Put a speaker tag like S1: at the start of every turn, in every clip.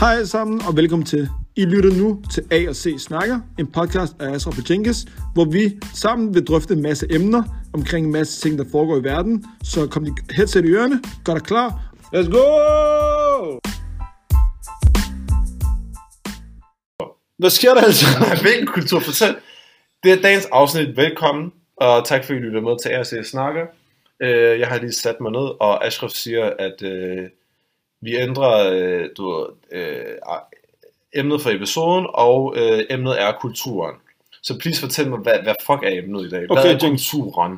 S1: Hej alle sammen, og velkommen til. I lytter nu til A og C Snakker, en podcast af Asra Pachinkes, hvor vi sammen vil drøfte en masse emner omkring en masse ting, der foregår i verden. Så kom dit headset i ørerne, gør dig klar. Let's go!
S2: Hvad sker der altså? Hvilken kultur? Fortæl. Det er dagens afsnit. Velkommen, og tak fordi I lytter med til RC Snakker. Øh, Jeg har lige sat mig ned, og Ashraf siger, at øh, vi ændrer øh, du, ved, øh, emnet for episoden, og øh, emnet er kulturen. Så please fortæl mig, hvad, hvad fuck er emnet i dag? Hvad
S1: Okay,
S2: er
S1: James.
S2: kulturen?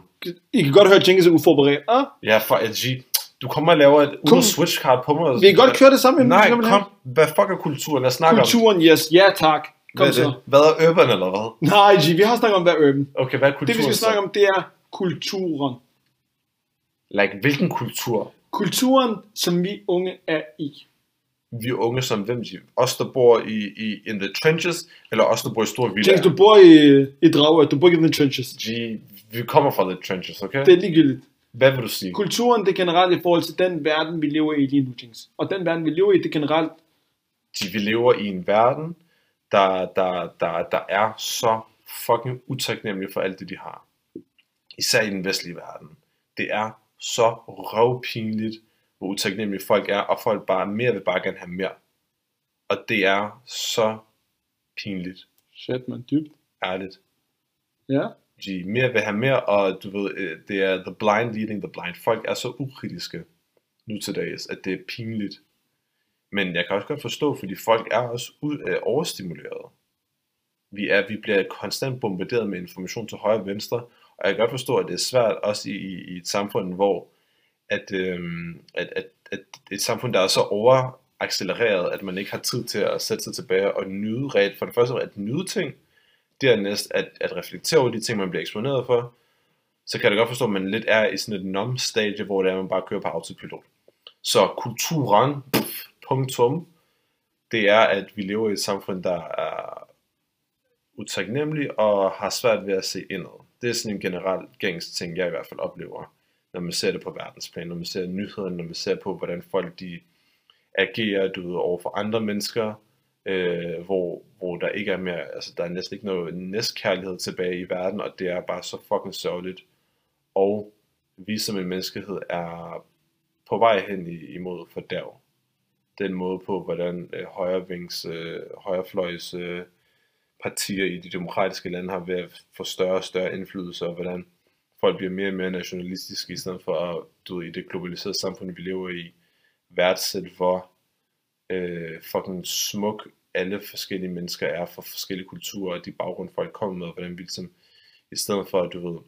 S1: I kan godt høre, at Jenkins er uforberedt. Ah,
S2: Ja, for LG. Du kommer og laver et
S1: Kom.
S2: uno switch card på mig.
S1: vi kan godt køre det samme.
S2: Nej,
S1: emne, vi gerne vil
S2: kom.
S1: have.
S2: Hvad fuck er kulturen? Lad os snakke om
S1: Kulturen, yes. Ja, tak. Kom
S2: hvad er
S1: så.
S2: det? Hvad er urban eller hvad?
S1: Nej, G, vi har snakket om, hvad er urban.
S2: Okay, hvad er kulturen?
S1: Det, vi skal
S2: så?
S1: snakke om, det er kulturen.
S2: Like, hvilken kultur?
S1: Kulturen, som vi unge er i.
S2: Vi er unge som hvem? siger- Os, der bor i, i in the trenches, eller os, der bor i store villaer?
S1: Jenkins, du bor i, i Dragør, du bor ikke i the trenches.
S2: G, vi kommer fra the trenches, okay?
S1: Det
S2: Det...
S1: er ligegyldigt.
S2: Hvad vil du sige?
S1: Kulturen, det er generelt i forhold til den verden, vi lever i lige nu, Jenkins. Og den verden, vi lever i, det er generelt...
S2: G, vi lever i en verden, der, der, der, der er så fucking utaknemmelig for alt det, de har. Især i den vestlige verden. Det er så røvpinligt, hvor utaknemmelige folk er, og folk bare mere vil bare gerne have mere. Og det er så pinligt,
S1: Shit, man, dybt.
S2: ærligt.
S1: Ja.
S2: de mere vil have mere, og du ved, øh, det er the blind leading the blind. Folk er så ukritiske nu til dags, at det er pinligt. Men jeg kan også godt forstå, fordi folk er også ud, øh, overstimuleret. Vi, er, vi bliver konstant bombarderet med information til højre og venstre, og jeg kan godt forstå, at det er svært også i, i, i et samfund, hvor at, øhm, at, at, at et samfund, der er så overaccelereret, at man ikke har tid til at sætte sig tilbage og nyde ret, for det første at nyde ting, dernæst at, at reflektere over de ting, man bliver eksponeret for, så kan jeg da godt forstå, at man lidt er i sådan et nom-stadie, hvor det er, at man bare kører på autopilot. Så kulturen, pff, punktum, det er, at vi lever i et samfund, der er utaknemmelig og har svært ved at se indad. Det er sådan en generel gængs ting, jeg i hvert fald oplever, når man ser det på verdensplan, når man ser nyhederne, når man ser på, hvordan folk de agerer du ved, over for andre mennesker, øh, hvor, hvor der ikke er mere, altså der er næsten ikke noget næstkærlighed tilbage i verden, og det er bare så fucking sørgeligt. Og vi som en menneskehed er på vej hen i, imod fordærv. Den måde på, hvordan øh, højrevings, øh, højrefløjs øh, partier i de demokratiske lande har ved at få større og større indflydelse, og hvordan folk bliver mere og mere nationalistiske, i stedet for at, du ved, i det globaliserede samfund, vi lever i, værdsætte, hvor øh, fucking smuk alle forskellige mennesker er fra forskellige kulturer, og de baggrund folk kommer med, og hvordan vi ligesom, i stedet for at, du ved,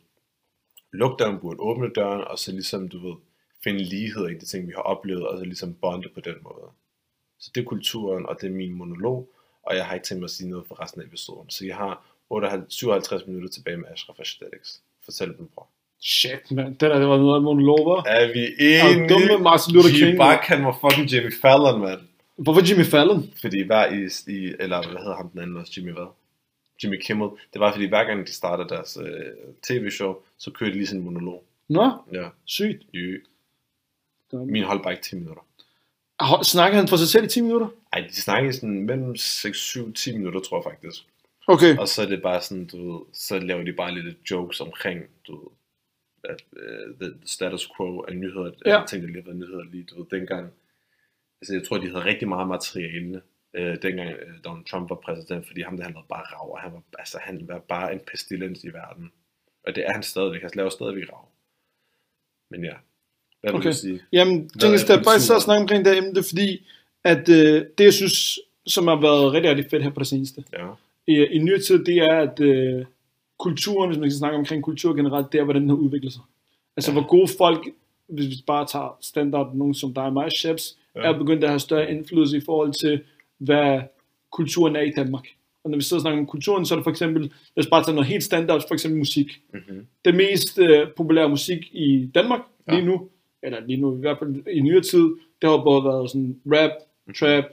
S2: lukke døren, burde åbne døren, og så ligesom, du ved, finde ligheder i de ting, vi har oplevet, og så ligesom bonde på den måde. Så det er kulturen, og det er min monolog, og jeg har ikke tænkt mig at sige noget for resten af episoden. Så jeg har 58, 57 minutter tilbage med Ashraf Ashtadiks. Fortæl dem, bror.
S1: Shit, man. Den der, det var noget af monologer.
S2: Er vi
S1: Er du dum med
S2: enige?
S1: Martin Luther King?
S2: De bare kan mig fucking Jimmy Fallon, mand.
S1: Hvorfor Jimmy Fallon?
S2: Fordi hver i, i eller hvad hedder ham den anden også, Jimmy hvad? Jimmy Kimmel. Det var fordi hver gang de startede deres øh, tv-show, så kørte de lige sådan en monolog.
S1: Nå,
S2: Ja.
S1: sygt.
S2: Øh,
S1: Dum.
S2: Min hold bare ikke 10 minutter.
S1: Ho- Snakker han for sig selv i 10 minutter?
S2: Ej, de snakker sådan mellem 6-7-10 minutter, tror jeg faktisk.
S1: Okay.
S2: Og så er det bare sådan, du ved, så laver de bare lidt jokes omkring, du ved, at, øh, the the status quo af nyheder,
S1: Ja.
S2: ja. jeg tænkte, der lige har været nyheder lige, du ved, dengang. Altså, jeg tror, de havde rigtig meget materiale, øh, dengang øh, Donald Trump var præsident, fordi ham der, han var bare rav, og han var, altså, han var bare en pestilens i verden. Og det er han stadigvæk, han laver stadigvæk rav. Men ja, hvad
S1: Okay.
S2: vil okay. du sige?
S1: Jamen, Jenkins,
S2: er
S1: der er faktisk så
S2: kulturen?
S1: at snakke omkring det her emne, det er fordi, at øh, det, jeg synes, som har været rigtig, rigtig fedt her på det seneste,
S2: Ja,
S1: i, i nyere tid, det er, at øh, kulturen, hvis man skal snakke omkring kultur generelt, det er, hvordan den har udviklet sig. Altså, ja.
S2: Ja.
S1: hvor gode folk, hvis vi bare tager standard, nogen som dig og mig, chefs, ja.
S2: Ja.
S1: er begyndt at have større indflydelse i forhold til, hvad kulturen er i Danmark. Og når vi sidder og snakker om kulturen, så er det for eksempel, lad os bare tage noget helt standard, for eksempel musik.
S2: mm-hmm.
S1: Det mest øh, populære musik i Danmark
S2: Ja.
S1: lige nu, eller lige nu i hvert fald i nyere tid, det har både været sådan rap,
S2: Mhm.
S1: trap,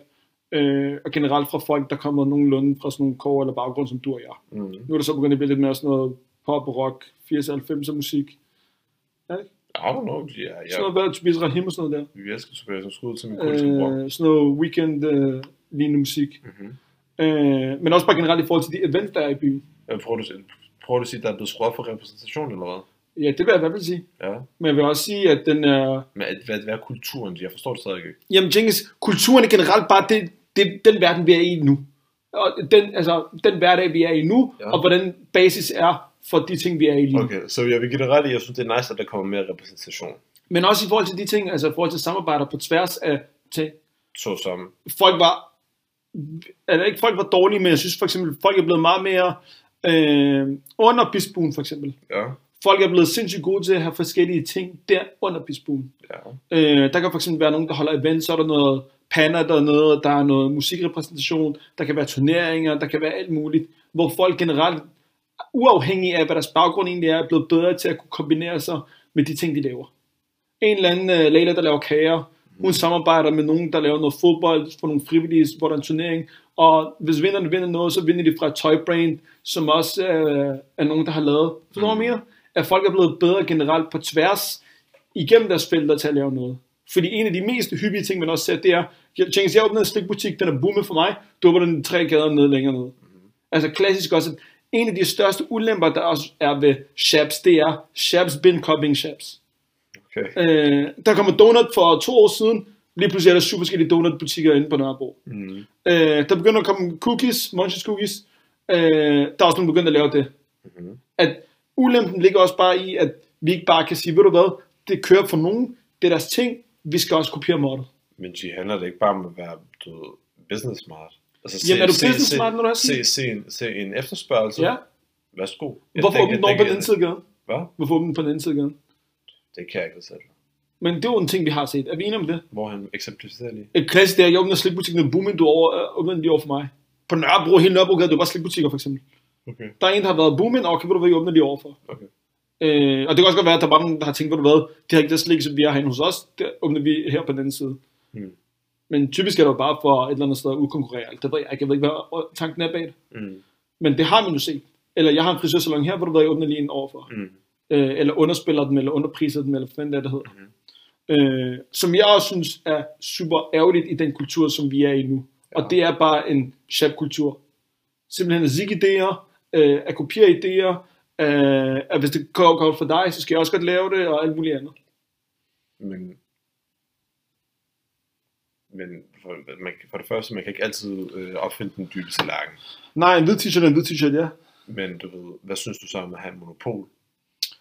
S1: øh, og generelt fra folk, der kommer nogenlunde fra sådan nogle kår eller baggrund, som du og jeg.
S2: Mm-hmm.
S1: Nu er der så begyndt at blive lidt mere sådan noget pop, rock, 80-90'er musik.
S2: I don't know, ja, ja.
S1: Sådan noget, hvad spiser Rahim og sådan noget der.
S2: Vi elsker tilbage som skud til min kurdiske bror.
S1: Øh, sådan noget weekend øh, lignende musik.
S2: Mhm.
S1: Øh, men også bare generelt i forhold til de events, der er i byen.
S2: Øh, Prøver du, prøver du at sige, at der er blevet skruet for repræsentation eller hvad?
S1: Ja, det vil jeg i hvert fald sige.
S2: Ja.
S1: Men jeg vil også sige, at den er...
S2: Men at, hvad, hvad er kulturen? Jeg forstår det stadig ikke.
S1: Jamen, Jenkins, kulturen er generelt bare det, det, den verden, vi er i nu. Og den, altså, den hverdag, vi er i nu,
S2: Ja.
S1: ja. og hvordan basis er for de ting, vi er i lige nu.
S2: Okay, så jeg vil give dig ret i, jeg synes, det er nice, at der kommer mere repræsentation.
S1: Men også i forhold til de ting, altså i forhold til samarbejder på tværs af ting.
S2: Så som,
S1: Folk var, altså ikke folk var dårlige, men jeg synes for eksempel, folk er blevet meget mere øh, under bisbuen for eksempel.
S2: ja,
S1: Folk er blevet sindssygt gode til at have forskellige ting der under bisbuen.
S2: ja,
S1: Øh, der kan for eksempel være nogen, der holder events, så er der noget panner, der er noget, der er noget musikrepræsentation, der kan være turneringer, der kan være alt muligt, hvor folk generelt, uafhængig af hvad deres baggrund egentlig er, er blevet bedre til at kunne kombinere sig med de ting, de laver. En eller anden uh, Leila, der laver kager, hun samarbejder med nogen, der laver noget fodbold for nogle frivillige, hvor der er en turnering, og hvis vinderne vinder noget, så vinder de fra et tøjbrand, som også øh, er nogen, der har lavet. Forstår du, hvad jeg mener? At folk er blevet bedre generelt på tværs, igennem deres felter til at lave noget. Fordi en af de mest hyppige ting, man også ser, det er, jeg tænker, jeg åbnede en slikbutik, den er boomet for mig, du åbner den tre gader ned længere ned. Altså klassisk også, at en af de største ulemper, der også er ved shops, det er shops bin copying shops.
S2: okay.
S1: Øh, der kommer donut for to år siden, lige pludselig er der syv forskellige donutbutikker inde på Nørrebro.
S2: Mm.
S1: Øh, der begynder at komme cookies, Munchies cookies. Øh, der er også nogen begyndt at lave det.
S2: Mhm.
S1: At ulempen ligger også bare i, at vi ikke bare kan sige, ved du hvad, det kører for nogen, det er deres ting, vi skal også kopiere måttet.
S2: Men de handler det ikke bare om at være du ved, business smart. Altså,
S1: Jamen, er du business smart, når du er
S2: se,
S1: sådan?
S2: se, en, se en efterspørgsel.
S1: Ja.
S2: Værsgo. Jeg
S1: Hvorfor
S2: tænker-
S1: åbne den over på
S2: jeg tænker,
S1: den anden side af gaden?
S2: Hvad?
S1: Hvorfor åbne den på den anden side af gaden?
S2: Det kan jeg ikke sætte.
S1: Men det er jo en ting, vi har set. Er vi enige om det?
S2: Hvor han eksemplificerer lige.
S1: Et klassisk Øh, det er, at jeg åbner slikbutikken med Boomin, du over, øh, åbner den lige over for mig. På Nørrebro, hele Nørrebro gade, det er bare slikbutikker for eksempel.
S2: Okay.
S1: Der er en, der har været Boomin, og kan du hvad, jeg åbner lige overfor.
S2: Okay.
S1: Øh, og det kan også godt være, at der er bare nogen, der har tænkt, ved du hvad, det her ikke det slik, som vi har herinde hos os, det åbner vi her på den anden side.
S2: Mm.
S1: Men typisk er det jo bare for et eller andet sted at udkonkurrere alt. Det ved jeg ikke, jeg ved ikke, hvad tanken er bag det.
S2: Mm.
S1: Men det har man jo set. Eller jeg har en frisørsalon her, hvor du ved, jeg åbner lige en overfor.
S2: Mm.
S1: Øh, eller underspiller den, eller underpriser den, eller hvad fanden det er, det hedder.
S2: Mhm.
S1: Mm. Øh, som jeg også synes er super ærgerligt i den kultur, som vi er i nu. Ja. Og det er bare en chef-kultur. Simpelthen at zigge idéer, øh, at kopiere idéer, øh, at hvis det går godt for dig, så skal jeg også godt lave det, og alt muligt andet.
S2: Men, men for, man, kan- for det første, man kan ikke altid øh, opfinde den dybe tallerken.
S1: Nej, en hvid t-shirt er en hvid t-shirt, ja.
S2: Men du ved, hvad synes du så om at have et monopol?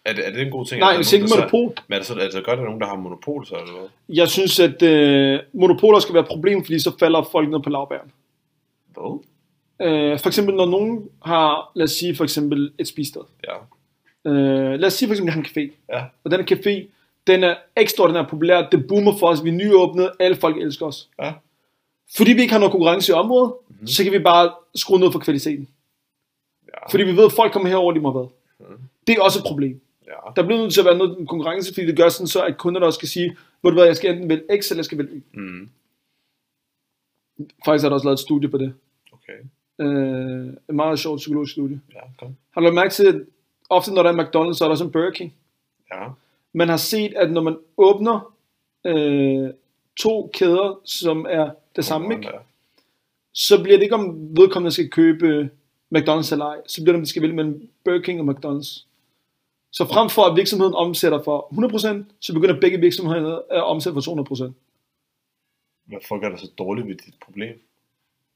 S2: Er det, er det en god ting? at
S1: Nej,
S2: der er
S1: hvis ikke
S2: nogen, der
S1: monopol.
S2: Så, men er det, så, er det så godt, at der er nogen, der har monopol så, eller hvad?
S1: Jeg synes, at øh, monopoler skal være et problem, fordi så falder folk ned på lavbæren.
S2: Hvad?
S1: Øh, for eksempel, når nogen har, lad os sige for eksempel et spisested.
S2: Ja.
S1: Øh, lad os sige for eksempel, at jeg har en café.
S2: Ja.
S1: Og den her café, den er ekstraordinært populær. Det boomer for os. Vi er nyåbnet. Alle folk elsker os.
S2: Ja. Mhm.
S1: Fordi vi ikke har noget konkurrence i området, mm-hmm. så kan vi bare skrue ned for kvaliteten.
S2: Ja.
S1: Fordi vi ved, at folk kommer herover lige meget hvad.
S2: Mhm.
S1: Det er også et problem.
S2: Ja.
S1: Der bliver nødt til at være noget konkurrence, fordi det gør sådan så, at kunderne også skal sige, hvor du hvad, jeg skal enten vælge X, eller jeg skal vælge Y.
S2: Mm.
S1: Faktisk er der også lavet et studie på det.
S2: Okay.
S1: Øh, et meget sjovt psykologisk studie.
S2: Ja, kom.
S1: Har du lagt mærke til, at ofte når der er McDonald's, så er der også en Burger King?
S2: Ja.
S1: man har set, at når man åbner øh, to kæder, som er det samme, ikke?
S2: Ja.
S1: så bliver det ikke om vedkommende skal købe øh, McDonald's eller ej, så bliver det, om de skal vælge mellem Burger King og McDonald's. Så frem for, at virksomheden omsætter for 100%, så begynder begge virksomheder at omsætte for 200%.
S2: Hvad fuck er der så dårligt ved dit problem?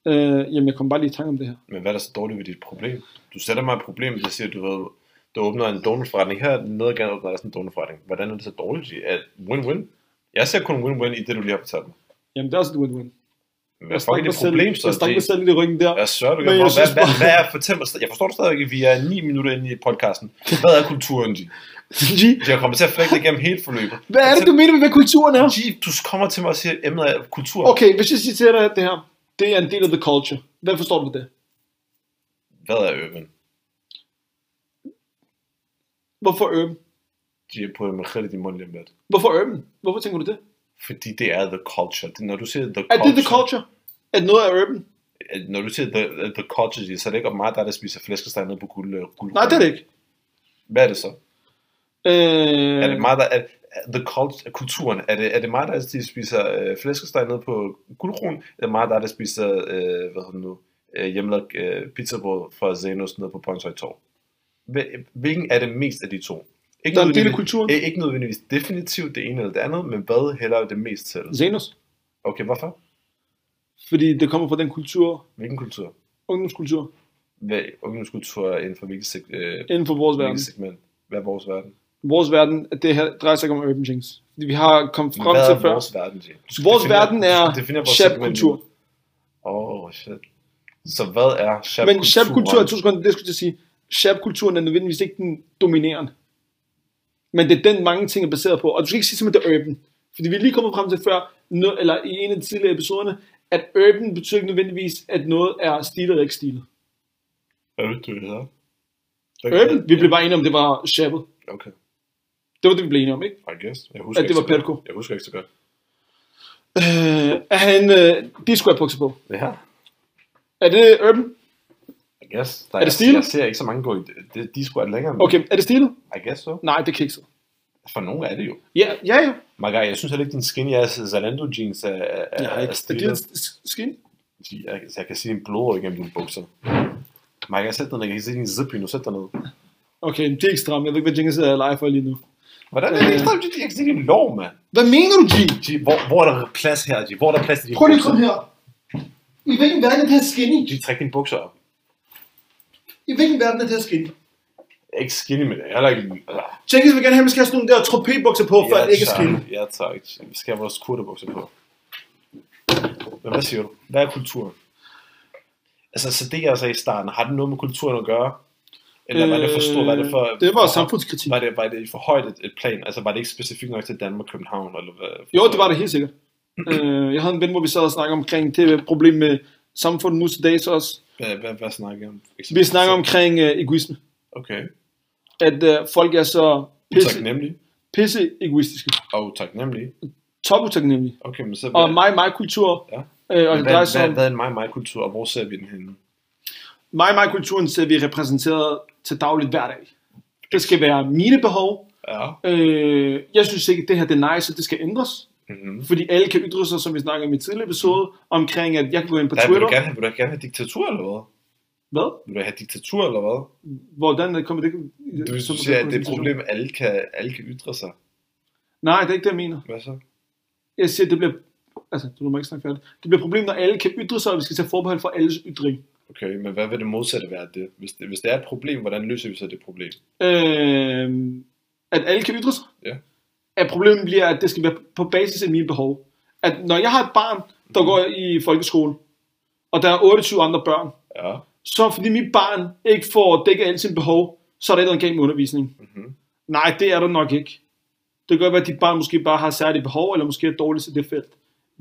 S1: Øh, jamen, jeg kom bare lige i tanke om det her.
S2: Men hvad er der så dårligt ved dit problem? Du sætter mig et problem, jeg siger, du ved, du åbner en donutforretning her, nede ad gaden åbner der sådan en donutforretning. Hvordan er det så dårligt? Det er win-win. Jeg ser kun win-win i det, du lige har fortalt mig.
S1: Jamen, det er også et win-win.
S2: Men
S1: Jeg
S2: Hvad fuck er
S1: stak mig
S2: dit
S1: selv,
S2: problem så?
S1: jeg stak mig
S2: Det-
S1: selv lidt i ryggen der.
S2: Jeg sørger, du
S1: Men
S2: kan
S1: jeg
S2: hvad, hvad,
S1: synes
S2: hvad,
S1: bare-
S2: hvad er, fortæl mig, jeg forstår det stadig ikke, vi er 9 minutter inde i podcasten. Hvad er kulturen, de?
S1: G,
S2: Jeg kommer til at flække igennem hele forløbet.
S1: Hvad er det,
S2: Altså-
S1: du mener med, hvad kulturen er?
S2: G, du kommer til mig og siger, at emnet er kultur.
S1: Okay, hvis jeg siger til dig at det her, det er en del af the culture. Hvad forstår du ved det?
S2: Hvad er urban?
S1: Hvorfor urban?
S2: De er på en kredit i munden lige om lidt.
S1: Hvorfor urban? Hvorfor tænker du det?
S2: Fordi det er the culture. Det, når du siger the
S1: Er
S2: culture,
S1: det the culture? At noget er urban?
S2: at når du siger the, the culture, G, så er det ikke om mig, der, er, der spiser flæskesteg nede på guld, guld.
S1: Nej, det er det ikke.
S2: Hvad er det så?
S1: Øh,
S2: Er det mig, der... Er, the cult, kulturen. Er det, er det mig, der altid spiser øh, flæskesteg nede på guldkronen? Er det mig, der, der spiser øh, hvad hedder det nu, øh, hjemmelavet øh, pizzabrød fra Zenos nede på Brøndshøj Torv? Hvil- Hvilken er det mest af de to? Ikke,
S1: Der er en del af
S2: nødvendigvis-
S1: kulturen.
S2: eh, ikke nødvendigvis definitivt det ene eller det andet, men hvad hælder det mest til?
S1: Zenos.
S2: Okay, hvorfor?
S1: Fordi det kommer fra den kultur,
S2: Hvilken kultur?
S1: ungdomskultur,
S2: Hvad, ungdomskultur er inden for hvilket, seg- øh,
S1: inden for vores verden.
S2: hvilket segment? Hvad er vores verden?
S1: Vores verden, at det her drejer sig ikke om urban jinx. Fordi vi har kommet frem
S2: Hvad
S1: til
S2: er
S1: før.
S2: vores verden, Jay? Du skal
S1: Vores
S2: definere-
S1: verden
S2: du skal
S1: er
S2: definere vores segment
S1: shabkultur.
S2: nu. Åh, oh, shit. Så hvad er shabkultur?
S1: Men shabkultur, to sekunder, det skulle jeg til at sige, shabkulturen er nødvendigvis ikke den dominerende. Men det er den, mange ting er baseret på. Og du skal ikke sige simpelthen, det er urban. Fordi vi er lige kommet frem til før, nø- eller i en af de tidligere episoderne, at urban betyder ikke nødvendigvis, at noget er stilet eller ikke stilet.
S2: Er det det, det hedder?
S1: Urban, Øhm, vi blev bare enige om, det var shabbet.
S2: Okay,
S1: Det var det, vi blev enige om, ikke?
S2: I guess. Jeg husker
S1: At det
S2: ikke
S1: var
S2: så godt.
S1: Perko.
S2: Jeg husker ikke så godt.
S1: Øh, er han, øh, de skulle have bukser på.
S2: Ja,
S1: Er det urban?
S2: I guess. Der,
S1: Er det stilet?
S2: Jeg, jeg ser ikke så mange gå i det. De skulle længere. men
S1: Okay, er det stilet?
S2: I guess so.
S1: Nej, det er kikset.
S2: For nogle er det jo.
S1: Ja, ja, ja.
S2: My guy, jeg synes heller ikke, din skinny ass Zalando jeans er, er, er,
S1: Nej,
S2: er
S1: er det
S2: stilet.
S1: en sk- skin?
S2: Fordi Jeg, jeg kan se din blod igennem dine bukser. My guy, sæt dig ned. Jeg kan se din zippy nu. Sæt dig ned.
S1: Okay, det er ikke stramt. Jeg ved ikke, hvad Jenkins er live for lige nu.
S2: Hvordan er
S1: Øh.
S2: det ikke stramt? Jeg kan se din lår, mand.
S1: Hvad mener du, G?
S2: G, hvor, hvor er der plads her, G? Hvor er der plads til dine
S1: Prøv lige at
S2: bukser?
S1: komme her. I hvilken verden er det her skinny?
S2: G, træk dine bukser op.
S1: I hvilken verden er det her skinny?
S2: Jeg er ikke skinny med det. Jeg er heller ikke... Ah,
S1: Jenkins vil gerne have, at vi skal have sådan nogle der trompetbukser på, for
S2: ja,
S1: at det ikke er skinny.
S2: tak. Ja, tak. Vi skal have vores kurtebukser på. Men hvad siger du? Hvad er kulturen? Altså, så det jeg sagde i starten, har det noget med kulturen at gøre? Eller var det for stort? Var det for...
S1: Øh, Det var samfundskritik.
S2: Var det, var det for højt et, et plan? Altså, var det ikke specifikt nok til Danmark og København? Eller hvad?
S1: Jo, det var det helt sikkert. øh, jeg havde en ven, hvor vi sad og snakkede omkring det problem med samfundet nu til dags også.
S2: Hvad, hvad, hvad snakker I om?
S1: Vi snakker omkring øh, egoisme.
S2: Okay.
S1: At øh, folk er så pisse,
S2: Taknemmelig.
S1: pisse egoistiske.
S2: Og taknemmelig.
S1: Top utaknemmelige.
S2: Okay, men så...
S1: Og mig, mig kultur.
S2: Ja.
S1: Øh, og
S2: Hvad,
S1: det drejer sig
S2: hvad,
S1: om,
S2: hvad er en meget, meget kultur, og hvor ser vi den henne?
S1: mig, mig kulturen ser vi repræsenteret til dagligt hver dag. Det skal være mine behov,
S2: Ja.
S1: Øh, jeg synes ikke, at det her det er nice, og det skal ændres.
S2: Mm-hmm.
S1: Fordi alle kan ytre sig, som vi snakkede om i tidligere episode, omkring, at jeg kan gå ind på
S2: Ja, vil, du
S1: Twitter.
S2: gerne, have- vil du gerne have diktatur, eller hvad?
S1: Hvad?
S2: Vil du have diktatur, eller hvad?
S1: Hvordan er- kommer det?
S2: Du,
S1: som-
S2: du siger, at det er et problem, at alle kan, alle kan ytre sig.
S1: Nej, det er ikke det, jeg mener.
S2: Hvad så?
S1: Jeg siger, at det bliver... Altså, du må ikke snakke færdigt. Det bliver et problem, når alle kan ytre sig, og vi skal tage forbehold for alles ytring.
S2: Okay, men hvad vil det modsatte være af det? Hvis, det? hvis det er et problem, hvordan løser vi så det problem?
S1: Øh, at alle kan ytre sig.
S2: Ja.
S1: At problemet bliver, at det skal være på basis af mine behov. At når jeg har et barn,
S2: Mhm.
S1: der går i folkeskole, og der er 28 andre børn,
S2: Ja.
S1: så fordi mit barn ikke får dækket alle sine behov, så er der et eller andet galt med undervisningen.
S2: Mm-hmm.
S1: Nej, det er der nok ikke. Det kan godt være, at dit barn måske bare har særlige behov, eller måske er dårligt til det felt.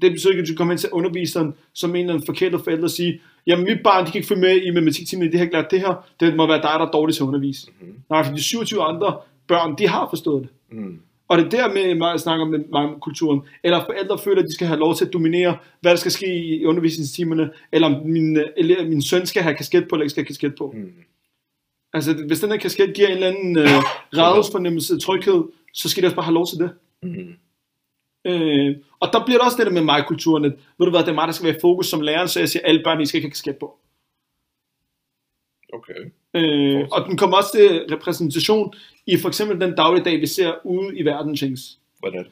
S1: Det betyder ikke, at du kan komme hen til underviseren som en eller anden forkert forælder og sige, jamen mit barn, de kan ikke følge med i matematiktimen, de har ikke lært det her, det må være dig, der er dårlig til at undervise.
S2: Mhm.
S1: Nej, for de 27 andre børn, de har forstået det.
S2: Mm.
S1: Og det er der med, at jeg snakker med mig om kulturen. Eller forældre føler, at de skal have lov til at dominere, hvad der skal ske i undervisningstimerne, eller om min, øh, ele- min søn skal have kasket på, eller ikke skal have kasket på.
S2: Mm.
S1: Altså, hvis den her kasket giver en eller anden øh, radelsfornemmelse af tryghed, så skal de også bare have lov til det.
S2: Mm.
S1: Øh, og der bliver det også det der med mig-kulturen, at ved du hvad, det er mig, der skal være i fokus som lærer, så jeg siger, alle børn, I skal ikke have kasket på.
S2: Okay.
S1: Øh, og den kommer også til repræsentation i for eksempel den dagligdag, vi ser ude i verden, Chings.
S2: Hvordan?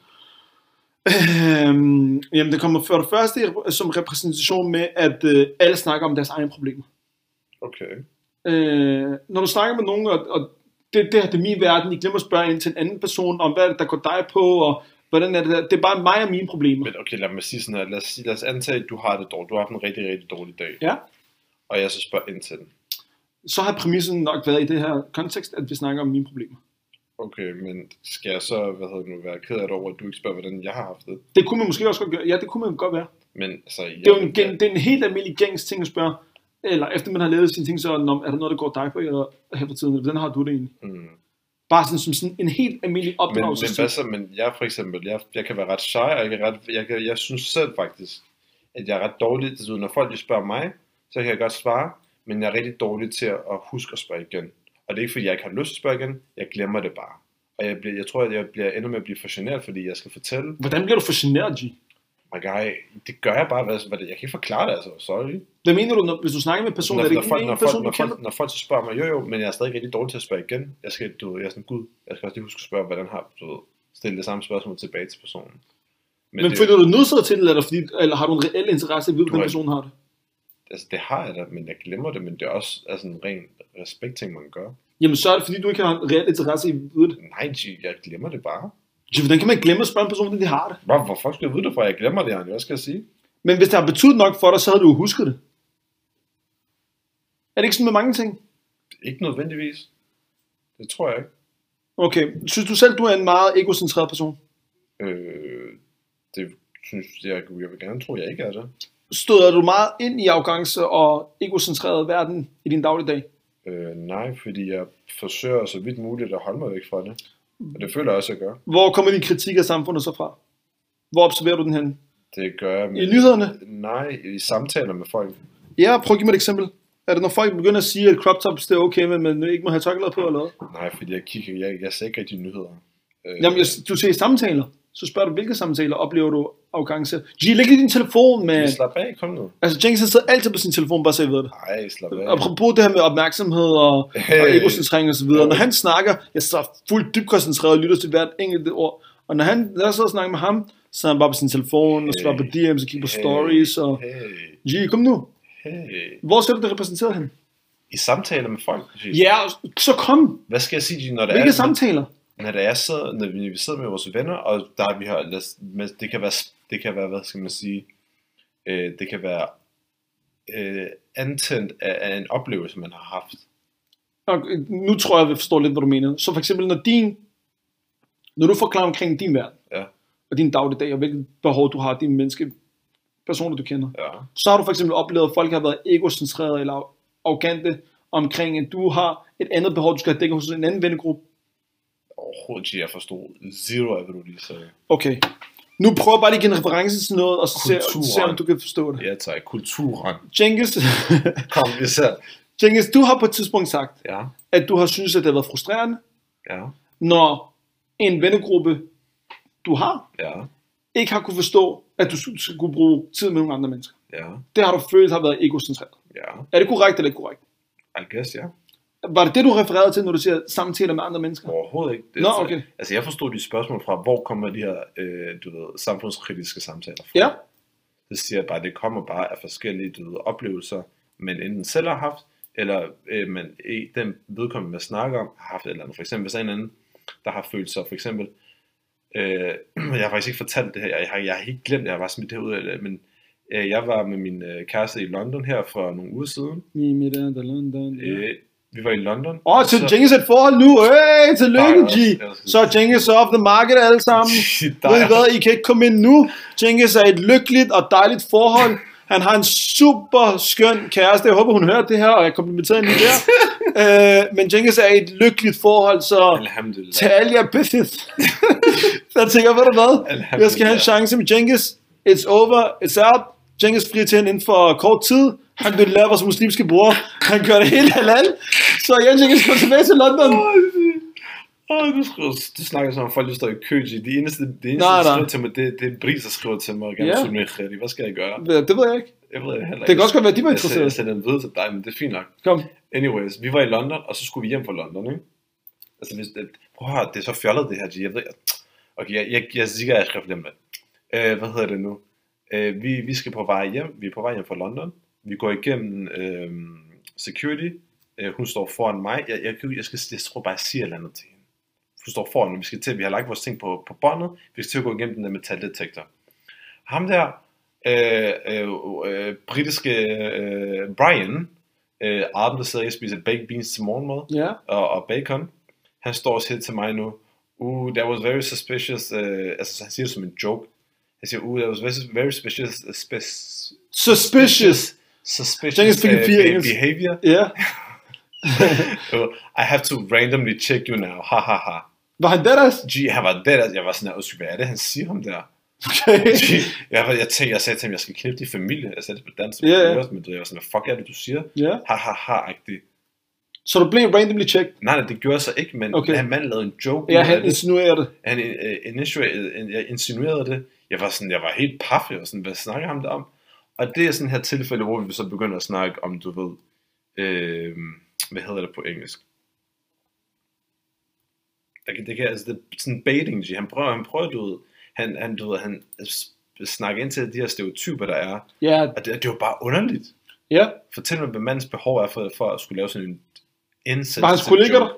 S1: Øhm, jamen, det kommer for det første i- som repræsentation med, at øh, alle snakker om deres egne problemer.
S2: Okay.
S1: Øh, når du snakker med nogen, og, og det, det her det er min verden, I glemmer at spørge ind til en anden person om, hvad er det, der går dig på, og hvordan er det der? Det er bare mig og mine problemer.
S2: Men okay, lad mig sige sådan her. Lad os, sige- lad os antage, at du har det dårligt. Du har haft en rigtig, rigtig dårlig dag.
S1: Ja.
S2: Og jeg så spørger ind til den.
S1: Så har præmissen nok været i det her kontekst, at vi snakker om mine problemer.
S2: Okay, men skal jeg så, hvad hedder det nu, være ked af det over, at du ikke spørger, hvordan jeg har haft det?
S1: Det kunne man måske også godt gøre. Ja, det kunne man godt være.
S2: Men altså, jeg,
S1: Det er jo en, gen- det er en helt almindelig gængs ting at spørge, eller efter man har lavet sine ting, så er der, "Nå, er der noget, der går dig på eller her for tiden, eller hvordan har du det egentlig?
S2: Mm.
S1: Bare sådan som sådan en helt almindelig
S2: Men, men
S1: opdragelse.
S2: hvad så, men jeg for eksempel, jeg, jeg kan være ret shy, og jeg, kan ret, jeg, kan, jeg synes selv faktisk, at jeg er ret dårlig til, når folk de spørger mig, så kan jeg godt svare, men jeg er rigtig dårlig til at, at huske at spørge igen. Og det er ikke, fordi jeg ikke har lyst til at spørge igen, jeg glemmer det bare. og jeg, bliver, jeg tror, at jeg bliver, ender med at blive for generet, fordi jeg skal fortælle,
S1: Hvordan bliver du for generet, G?
S2: my guy, det gør jeg bare, hvad, hvad det, jeg kan ikke forklare det, altså, sorry.
S1: Hvad mener du, når, hvis du snakker med personen?
S2: Når,
S1: Er det
S2: når,
S1: ikke
S2: folk,
S1: en
S2: når,
S1: person,
S2: folk,
S1: du
S2: når,
S1: kender?
S2: folk, når folk så spørger mig, jo jo, men jeg er stadig rigtig dårlig til at spørge igen, jeg skal, du, ved, jeg er sådan, gud, jeg skal også lige huske at spørge, hvordan har du ved, stille det samme spørgsmål tilbage til personen. Men,
S1: Men
S2: det,
S1: føler du dig nødsaget til det, eller, fordi, eller har du en reel interesse i at vide, hvordan
S2: har-
S1: personen har det?
S2: altså, det har jeg da, men jeg glemmer det, men det er også altså, en ren respekt ting, man gør.
S1: Jamen, så er det, fordi du ikke har en reel interesse i at vide det.
S2: Nej, G, jeg glemmer det bare.
S1: G, hvordan kan man glemme at spørge en person, hvordan de har det?
S2: Hvor, hvorfor skal jeg vide det fra? Jeg glemmer det, Arne. Hvad skal jeg sige?
S1: Men hvis det har betydet nok for dig, så havde du jo husket det. Er det ikke sådan med mange ting?
S2: Ikke nødvendigvis. Det tror jeg ikke.
S1: Okay, synes du selv, du er en meget egocentreret person?
S2: Øh, det synes jeg, jeg vil gerne tro, jeg ikke er det.
S1: Støder du meget ind i arrogance og egocentreret verden i din dagligdag?
S2: Øh, nej, fordi jeg forsøger så vidt muligt at holde mig væk fra det. Og det føler jeg også, jeg gør.
S1: Hvor kommer din kritik af samfundet så fra? Hvor observerer du den hen?
S2: Det gør jeg
S1: I nyhederne?
S2: Nej, i samtaler med folk.
S1: Ja, prøv at give mig et eksempel. Er det, når folk begynder at sige, at crop tops det er okay, men man ikke må have tørklæder på eller hvad?
S2: Nej, fordi jeg kigger, jeg, jeg ser ikke rigtig nyheder. Øh,
S1: Jamen, jeg, du siger samtaler. Så spørger du, hvilke samtaler oplever du arrogance? G, læg lige din telefon med...
S2: Slap af, kom nu.
S1: Altså, Jenkins han sidder altid på sin telefon, bare så I ved det.
S2: Nej, slap af.
S1: Apropos det her med opmærksomhed og, hey. og
S2: Hey.
S1: egocentrering og så videre. Når han snakker, jeg sidder fuldt dybt koncentreret og lytter til hvert enkelt ord. Og når, han, når jeg sidder og snakker med ham, så er han bare på sin telefon og
S2: Hey.
S1: svarer på DM's og kigger på
S2: Hey.
S1: stories. Og...
S2: Hey,
S1: G, kom nu.
S2: hey.
S1: Hvor skal du det repræsenteret hen?
S2: I samtaler med folk. præcis.
S1: Ja, så kom.
S2: Hvad skal jeg sige, når der
S1: Hvilke
S2: er...
S1: samtaler?
S2: når der er sidder, når vi, vi sidder med vores venner, og der vi har, lad os- men det kan være, det kan være, hvad skal man sige, øh, det kan være øh, antændt af, af, en oplevelse, man har haft.
S1: Og øh, nu tror jeg, jeg forstår lidt, hvad du mener. Så for eksempel, når din, når du forklarer omkring din verden,
S2: Ja.
S1: og din dagligdag, og hvilket behov du har, dine menneske, personer du kender,
S2: Ja.
S1: så har du for eksempel oplevet, at folk har været egocentrerede eller arrogante omkring, at du har et andet behov, du skal have dækket hos en anden vennegruppe.
S2: Overhovedet ikke, jeg forstod zero af, hvad du lige sagde.
S1: Okay. Nu prøver jeg bare lige at give en reference til noget, og så se,
S2: Kulturen.
S1: se, om du kan forstå det.
S2: Ja tak, kulturen.
S1: Jenkins,
S2: Kom, vi ser.
S1: Jenkins, du har på et tidspunkt sagt,
S2: Ja,
S1: at du har syntes, at det har været frustrerende,
S2: ja,
S1: når en vennegruppe, du har,
S2: ja,
S1: ikke har kunne forstå, at du skulle kunne bruge tid med nogle andre mennesker.
S2: ja,
S1: Det har du følt har været egocentreret.
S2: ja.
S1: Er det korrekt eller ikke korrekt?
S2: I guess, ja. Yeah.
S1: Var det det, du refererede til, når du siger samtaler med andre mennesker?
S2: Overhovedet ikke. Det,
S1: Nå, okay.
S2: Altså, jeg forstod de spørgsmål fra, hvor kommer de her, øh, du ved, samfundskritiske samtaler fra?
S1: Ja.
S2: Så siger jeg bare, at det kommer bare af forskellige du ved, oplevelser, man enten selv har haft, eller øh, man, i- den vedkommende, man snakker om, har haft et eller andet. For eksempel, hvis der er en anden, der har følt sig, for eksempel, øh, jeg har faktisk ikke fortalt det her, jeg har, jeg har helt glemt, det, jeg har bare smidt det her ud af det, men øh, jeg var med min øh, kæreste i London her for nogle uger siden.
S1: Mi- mi- da- da- da- da- da.
S2: Øh, vi var i London.
S1: Åh, oh, til Jenkins et forhold nu. Hey, tillykke, G.
S2: Nej, nej, nej.
S1: Så er Jenkins off the market alle sammen.
S2: Der
S1: Ved I
S2: er-
S1: hvad, I kan ikke komme ind nu. Jenkins er i et lykkeligt og dejligt forhold. Han har en super skøn kæreste. Jeg håber, hun hører det her, og jeg komplimenterer hende der. øh, men Jenkins er i et lykkeligt forhold, så...
S2: Alhamdulillah.
S1: til alle jer bitches. der tænker, ved du hvad?
S2: Alhamdulillah.
S1: Jeg skal have en chance med Jenkins. It's over. It's out. Jenkins frier til hende inden for kort tid. Han blev lærer vores muslimske bror. Han gør det hele halal. Så jeg Jenkins går tilbage til London.
S2: Åh, du, skriver, du snakker som om folk, der står i kø. G. De eneste, de eneste
S1: Nej,
S2: der
S1: nej.
S2: skriver til mig, det, det er Bris, der skriver til mig. og Gerne
S1: Ja.
S2: yeah. med Hvad skal jeg gøre?
S1: Det ved jeg ikke.
S2: Jeg ved det heller ikke.
S1: Det kan også godt være, at de var
S2: Jeg sender- Jeg
S1: interesserede.
S2: sender den videre til dig, men det er fint nok.
S1: Kom.
S2: Anyways, vi var i London, og så skulle vi hjem fra London, ikke? Altså, hvis, det, prøv at høre, det er så fjollet det her, G. Jeg ved ikke. Okay, jeg, jeg, jeg siger, at jeg skal glemme det. Øh, hvad hedder det nu? Øh, vi, vi skal på vej hjem. Vi er på vej hjem fra London. Vi går igennem øh, security. Øh, hun står foran mig. Jeg, jeg, jeg, jeg, skal, jeg tror bare, jeg siger et eller andet til hende. Hun står foran, mig. vi skal til, vi har lagt vores ting på, på båndet. Vi skal til at gå igennem den der metaldetektor. Ham der, øh, øh, øh, britiske øh, Brian, øh, Arben, der sidder og spiser baked beans til morgenmad
S1: Ja.
S2: og, og bacon, han står og siger til mig nu, uh, that was very suspicious, øh, altså han siger det som en joke, han siger, uh, that was very, very suspicious, uh, spes-
S1: Suspicious. Jenkins
S2: suspicious
S1: fik en
S2: øh,
S1: fire
S2: be-
S1: engelsk.
S2: behavior,
S1: Ja.
S2: Uh, I have to randomly check you now, ha ha ha.
S1: Var han deres?
S2: G, han var der, jeg var sådan, "Undskyld, hvad er det, han siger ham der?
S1: Okay.
S2: G, jeg, var- jeg, tænkte, jeg sagde til ham, jeg skal knippe din familie, jeg sagde det på dansk,
S1: Ja, ja.
S2: men du ved, jeg var sådan, hvad fuck er det, du siger?
S1: Ja.
S2: ha ha ha agtig
S1: Så du blev randomly checked.
S2: Nej, nej, det gjorde jeg så ikke, men
S1: Okay.
S2: okay. han mand lavede en joke.
S1: Ja,
S2: ud af
S1: han
S2: det.
S1: insinuerer det.
S2: han øh, insinuerede, øh, jeg insinuerede det. Jeg var sådan, jeg var helt paf. Jeg var sådan, hvad snakker han der om? Og det er sådan her tilfælde, hvor vi så begynder at snakke om, du ved, øh, hvad hedder det på engelsk? Det kan, det kan, altså, det er sådan baiting, G. han prøver, han prøver, du ved, han, han, du ved, han s- snakker ind til de her stereotyper, der er.
S1: Ja,
S2: Og det, det var bare underligt.
S1: ja.
S2: Fortæl mig, hvad mandens behov er for, for at skulle lave sådan en indsats.
S1: Var hans kollega der?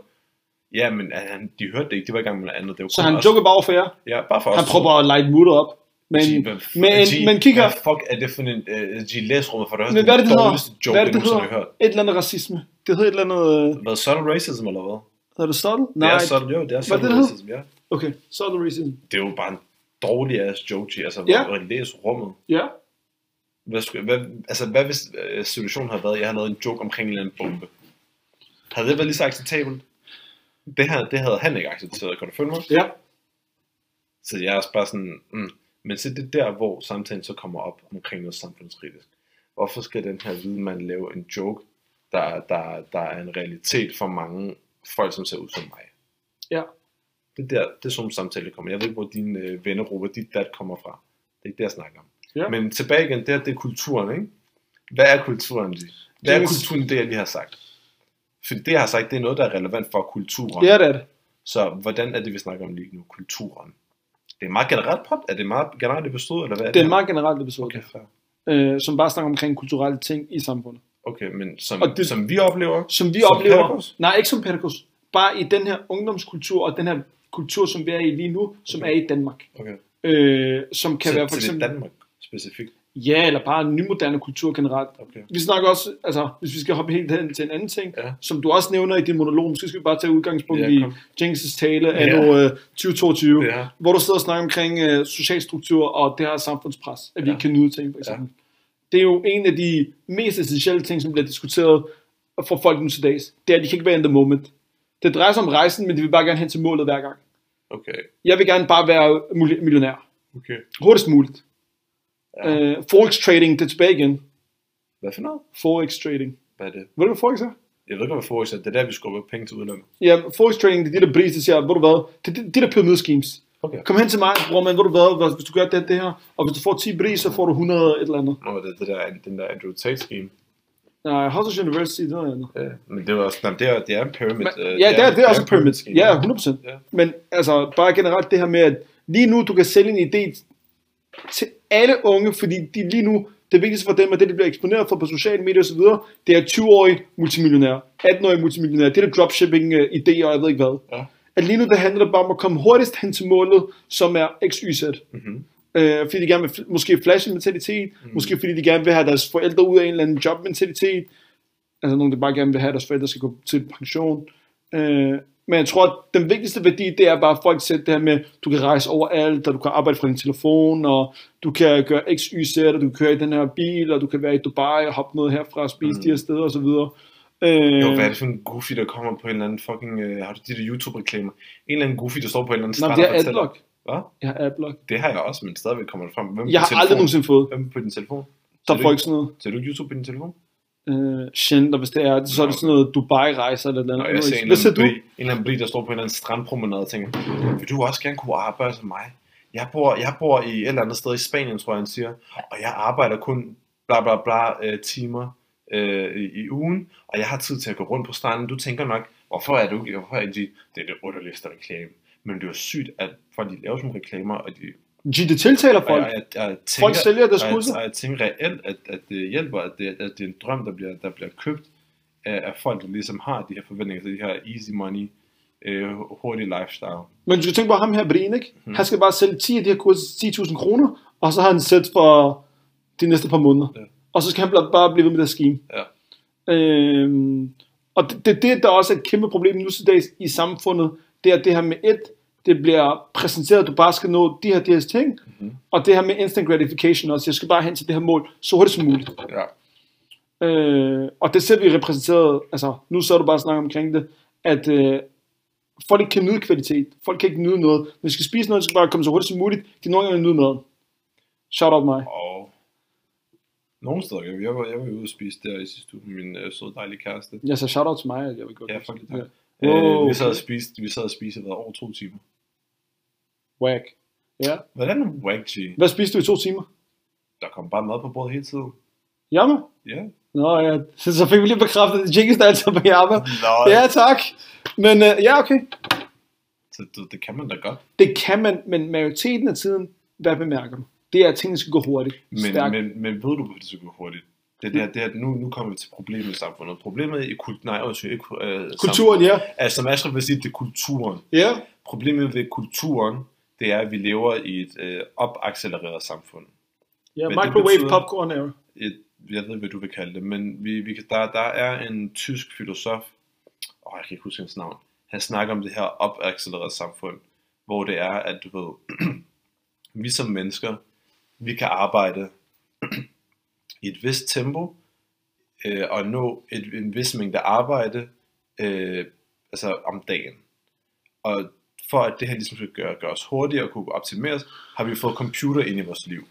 S2: Ja, men han, de hørte det ikke. De var i gang med noget andet. Det var
S1: Så
S2: kun
S1: han
S2: os.
S1: joker bare for jer.
S2: Ja, bare for
S1: Han
S2: os.
S1: prøver bare at light mutter op. Men,
S2: Sige,
S1: men,
S2: G,
S1: men kig her.
S2: Hvad fuck er det for en uh, G læsrummet for det
S1: Men hvad er det, det hedder?
S2: dårligste joke,
S1: Hvad er det,
S2: jeg
S1: det
S2: nogensinde
S1: hedder?
S2: har hørt.
S1: Et eller andet racisme. Det hedder et eller andet... øh,
S2: Hvad, subtle racism eller hvad?
S1: Hedder det sådan?
S2: Nej. Det
S1: Nej.
S2: er subtle, jo, det er
S1: det,
S2: subtle
S1: det
S2: racism, ja.
S1: Okay, sådan racism.
S2: Det er jo bare en dårlig ass joke, G. Altså,
S1: Ja.
S2: ja. hvor læsrummet.
S1: Ja.
S2: Hvad, skulle, hvad, altså, hvad hvis øh, situationen havde været, at jeg havde lavet en joke omkring en eller anden bombe? Havde det været lige så acceptabelt? Det, her, det havde han ikke accepteret, kan du følge mig?
S1: Ja.
S2: Så jeg er også bare sådan, mm. men se det er der, hvor samtalen så kommer op omkring noget samfundskritisk. Hvorfor skal den her hvide mand lave en joke, der, der, der er en realitet for mange folk, som ser ud som mig?
S1: Ja.
S2: Det er der, det er sådan en samtale, der kommer. Jeg ved ikke, hvor din øh, vennegruppe, dit dat kommer fra. Det er ikke det, jeg snakker om.
S1: Ja.
S2: Men tilbage igen, det, her, det er kulturen, ikke? Hvad er kulturen, de? Hvad er
S1: James-
S2: kulturen, det jeg lige har sagt? Fordi det, jeg har sagt, det er noget, der er relevant for kulturen.
S1: Ja, det er det.
S2: Så hvordan er det, vi snakker om lige nu? Kulturen. Det er meget generelt pot? Er det meget generelt episode, eller hvad er
S1: Det
S2: det?
S1: er en
S2: her?
S1: meget generelt episode,
S2: Okay, fair.
S1: øh, som bare snakker omkring kulturelle ting i samfundet.
S2: okay men som,
S1: Og det-
S2: det, som vi oplever...
S1: Som vi
S2: Som
S1: oplever...
S2: pædagogos?
S1: Nej, ikke som pædagogos. Bare i den her ungdomskultur og den her kultur, som vi er i lige nu, som okay.
S2: Okay.
S1: er i Danmark.
S2: Okay.
S1: Øh, som kan
S2: så,
S1: så, være for
S2: så det er
S1: eksempel...
S2: Danmark specifikt.
S1: Ja, eller bare en nymoderne kultur generelt.
S2: Okay.
S1: Vi snakker også, altså hvis vi skal hoppe helt hen til en anden ting, ja.
S2: Ja.
S1: som du også nævner i din monolog, måske skal vi bare tage udgangspunkt ja,
S2: Ja,
S1: i
S2: kom.
S1: Jenkins' tale
S2: Ja.
S1: af ja. 2022, ja.
S2: Ja.
S1: hvor du sidder og snakker omkring øh, social struktur og det her samfundspres, at vi
S2: Ja.
S1: ikke kan nyde ting, for eksempel. Ja. Det er jo en af de mest essentielle ting, som bliver diskuteret for folk nu til dags. Det er, at de kan ikke være in the moment. Det drejer sig om rejsen, men de vil bare gerne hen til målet hver gang.
S2: Okay.
S1: Jeg vil gerne bare være mul- millionær.
S2: Okay.
S1: Hurtigst muligt. Ja.
S2: Ja.
S1: Øh, forex trading, det er tilbage igen.
S2: Hvad for noget?
S1: Forex trading.
S2: Hvad er det?
S1: Ved du, hvad forex er?
S2: Jeg ved ikke, hvad fokus er. Det er der, vi skubber penge til udlandet.
S1: Ja, forex trading, det er de der briser, der siger, hvor du hvad, det er de, de der pyramide schemes.
S2: Okay.
S1: Kom hen til mig, bror man, hvor du hvad, hvis du gør det, det her, og hvis du får 10 briser, så får du 100 et eller andet.
S2: Nå, det er det der, den der Andrew Tate scheme.
S1: Nej, Hustlers University, det er noget andet.
S2: Ja. Men det var også, nej, det er, det er en pyramid.
S1: Men,
S2: øh,
S1: ja, det er, det er også
S2: en
S1: en pyramid.
S2: scheme.
S1: Ja, 100%.
S2: Ja.
S1: Men altså, bare generelt det her med, at lige nu, du kan sælge en idé til alle unge, fordi de lige nu, det vigtigste for dem, og det, de bliver eksponeret for på sociale medier osv., det er 20-årige multimillionærer, 18-årige multimillionærer, det er der dropshipping-idéer, og jeg ved ikke hvad.
S2: Ja.
S1: At lige nu, det handler det bare om at komme hurtigst hen til målet, som er XYZ.
S2: Mhm.
S1: Øh, fordi de gerne vil fl- måske flashe mentalitet, mm. måske fordi de gerne vil have deres forældre ud af en eller anden jobmentalitet, altså nogen, der bare gerne vil have, at deres forældre skal gå til pension. Øh, men jeg tror, at den vigtigste værdi, det er bare, at folk sætter det her med, du kan rejse overalt, og du kan arbejde fra din telefon, og du kan gøre x, y, z, og du kan køre i den her bil, og du kan være i Dubai og hoppe noget herfra og spise mm. de her steder osv.
S2: Jo, hvad er
S1: Øh,
S2: Mhm. det for en goofy, der kommer på en eller anden fucking... Øh, har du de der YouTube-reklamer? En eller anden goofy, der står på en eller anden
S1: Nå,
S2: strand
S1: det
S2: og
S1: er
S2: fortæller-
S1: adblock.
S2: Hvad?
S1: Jeg har adblock.
S2: Det har jeg også, men stadigvæk kommer det frem. Hvem på
S1: Jeg har
S2: telefon?
S1: aldrig nogensinde fået.
S2: Hvem på din telefon?
S1: Der
S2: Ser du
S1: får
S2: ikke-
S1: ikke sådan noget.
S2: Ser du ikke YouTube på din telefon?
S1: Øh, sjældent, og hvis det er, så er det sådan noget Dubai-rejser eller noget.
S2: Når jeg ser
S1: andet.
S2: en
S1: Hvad
S2: eller,
S1: ser
S2: anden
S1: du?
S2: bli, en eller anden bli, der står på en eller anden strandpromenade og tænker, vil du også gerne kunne arbejde som mig? Jeg bor, jeg bor i et eller andet sted i Spanien, tror jeg, han siger, og jeg arbejder kun bla bla bla øh, timer øh, i, i ugen, og jeg har tid til at gå rundt på stranden. Du tænker nok, hvorfor er du ikke, hvorfor er de, det er det underligste reklame. Men det er jo sygt, at folk de laver sådan nogle reklamer, og de
S1: G, det tiltaler
S2: Og
S1: folk.
S2: jeg, jeg, jeg tænker,
S1: Folk sælger deres
S2: og
S1: kurser.
S2: jeg, og jeg tænker reelt, at, at det hjælper, at det, at det er en drøm, der bliver, der bliver købt af, af folk, der ligesom har de her forventninger til de her easy money, øh, hurtig lifestyle.
S1: Men du skal tænke på ham her, Brin, ikke? Hmm. Han skal bare sælge 10 af de her kurser til 10.000 kroner, og så har han sæt for de næste par måneder. Ja.
S2: Ja.
S1: Og så skal han bl- bare blive ved med det scheme.
S2: Ja.
S1: Øhm, og det, det, er det, der også er et kæmpe problem nu til dags i samfundet, det er det her med et, det bliver præsenteret, at du bare skal nå de her, de her ting,
S2: Mhm.
S1: mm-hmm. og det her med instant gratification også, jeg skal bare hen til det her mål så hurtigt som muligt.
S2: Ja.
S1: Øh, og det ser vi repræsenteret, altså nu så du bare snakke omkring det, at øh, folk ikke kan nyde kvalitet, folk kan ikke nyde noget. Når de skal spise noget, de skal bare komme så hurtigt som muligt, de nogle gange vil nyde noget. Shout out mig.
S2: Og Nogle steder gør vi. Jeg var, jeg var jo ude og spise der i sidste uge med min øh, søde dejlige kæreste.
S1: Jeg så shout out til mig, at jeg vil godt.
S2: Ja, fuck det. tak.
S1: Wow.
S2: Øh, vi sad og spiste, vi sad og spiste i hvad, over to timer.
S1: Whack. Ja.
S2: Hvordan er wack G?
S1: Hvad spiste du i to timer?
S2: Der kom bare mad på bordet hele tiden.
S1: Jammer?
S2: Ja.
S1: Nå ja, så, så fik vi lige bekræftet, at Jenkins er altså på jammer.
S2: Nå,
S1: Ja, tak. Men øh, ja, okay.
S2: så, det, det, kan man da godt.
S1: Det kan man, men majoriteten af tiden, hvad bemærker man? Det er, at tingene skal gå hurtigt.
S2: Men,
S1: stærkt.
S2: men, men ved du, hvorfor det skal gå hurtigt? Det er det, her- det er, at nu, nu kommer vi til problemet i samfundet. Problemet i kult, nej, også, ikke, øh,
S1: Kulturen, ja.
S2: Samfundet, altså, som Ashraf vil sige, det er kulturen.
S1: Ja.
S2: Problemet ved kulturen, det er, at vi lever i et øh, opaccelereret samfund.
S1: Ja,
S2: Men det
S1: microwave
S2: betyder-
S1: popcorn er
S2: Et, jeg ved, hvad du vil kalde det, men vi, vi, kan- der, der er en tysk filosof, åh, jeg kan ikke huske hans navn, han snakker om det her opaccelereret samfund, hvor det er, at du ved, vi som mennesker, vi kan arbejde i et vist tempo, øh, og nå et, en vis mængde arbejde øh, altså om dagen. Og for at det her ligesom skal gøre, gøre os hurtigere og kunne optimeres, har vi fået computer ind i vores liv.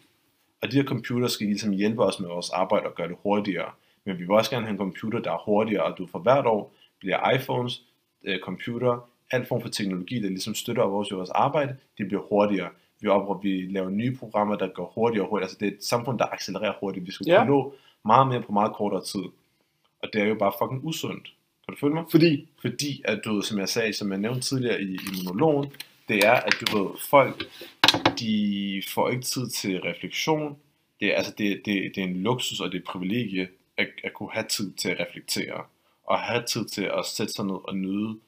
S2: Og de her computer skal ligesom hjælpe os med vores arbejde og gøre det hurtigere. Men vi vil også gerne have en computer, der er hurtigere, og du for hvert år bliver iPhones, øh, computer, al form for teknologi, der ligesom støtter vores, vores arbejde, det bliver hurtigere. Vi, opre, vi laver nye programmer, der går hurtigere og hurtigere. Altså det er et samfund, der accelererer hurtigt. Vi skal
S1: Ja.
S2: ja. kunne nå meget mere på meget kortere tid. Og det er jo bare fucking usundt. Kan du følge mig?
S1: Fordi?
S2: Fordi at du ved, som jeg sagde, som jeg nævnte tidligere i, i monologen, det er, at du ved, folk, de får ikke tid til refleksion. Det er, altså, det, det, det er en luksus, og det er et privilegie at, at kunne have tid til at reflektere. Og have tid til at sætte sig ned og nyde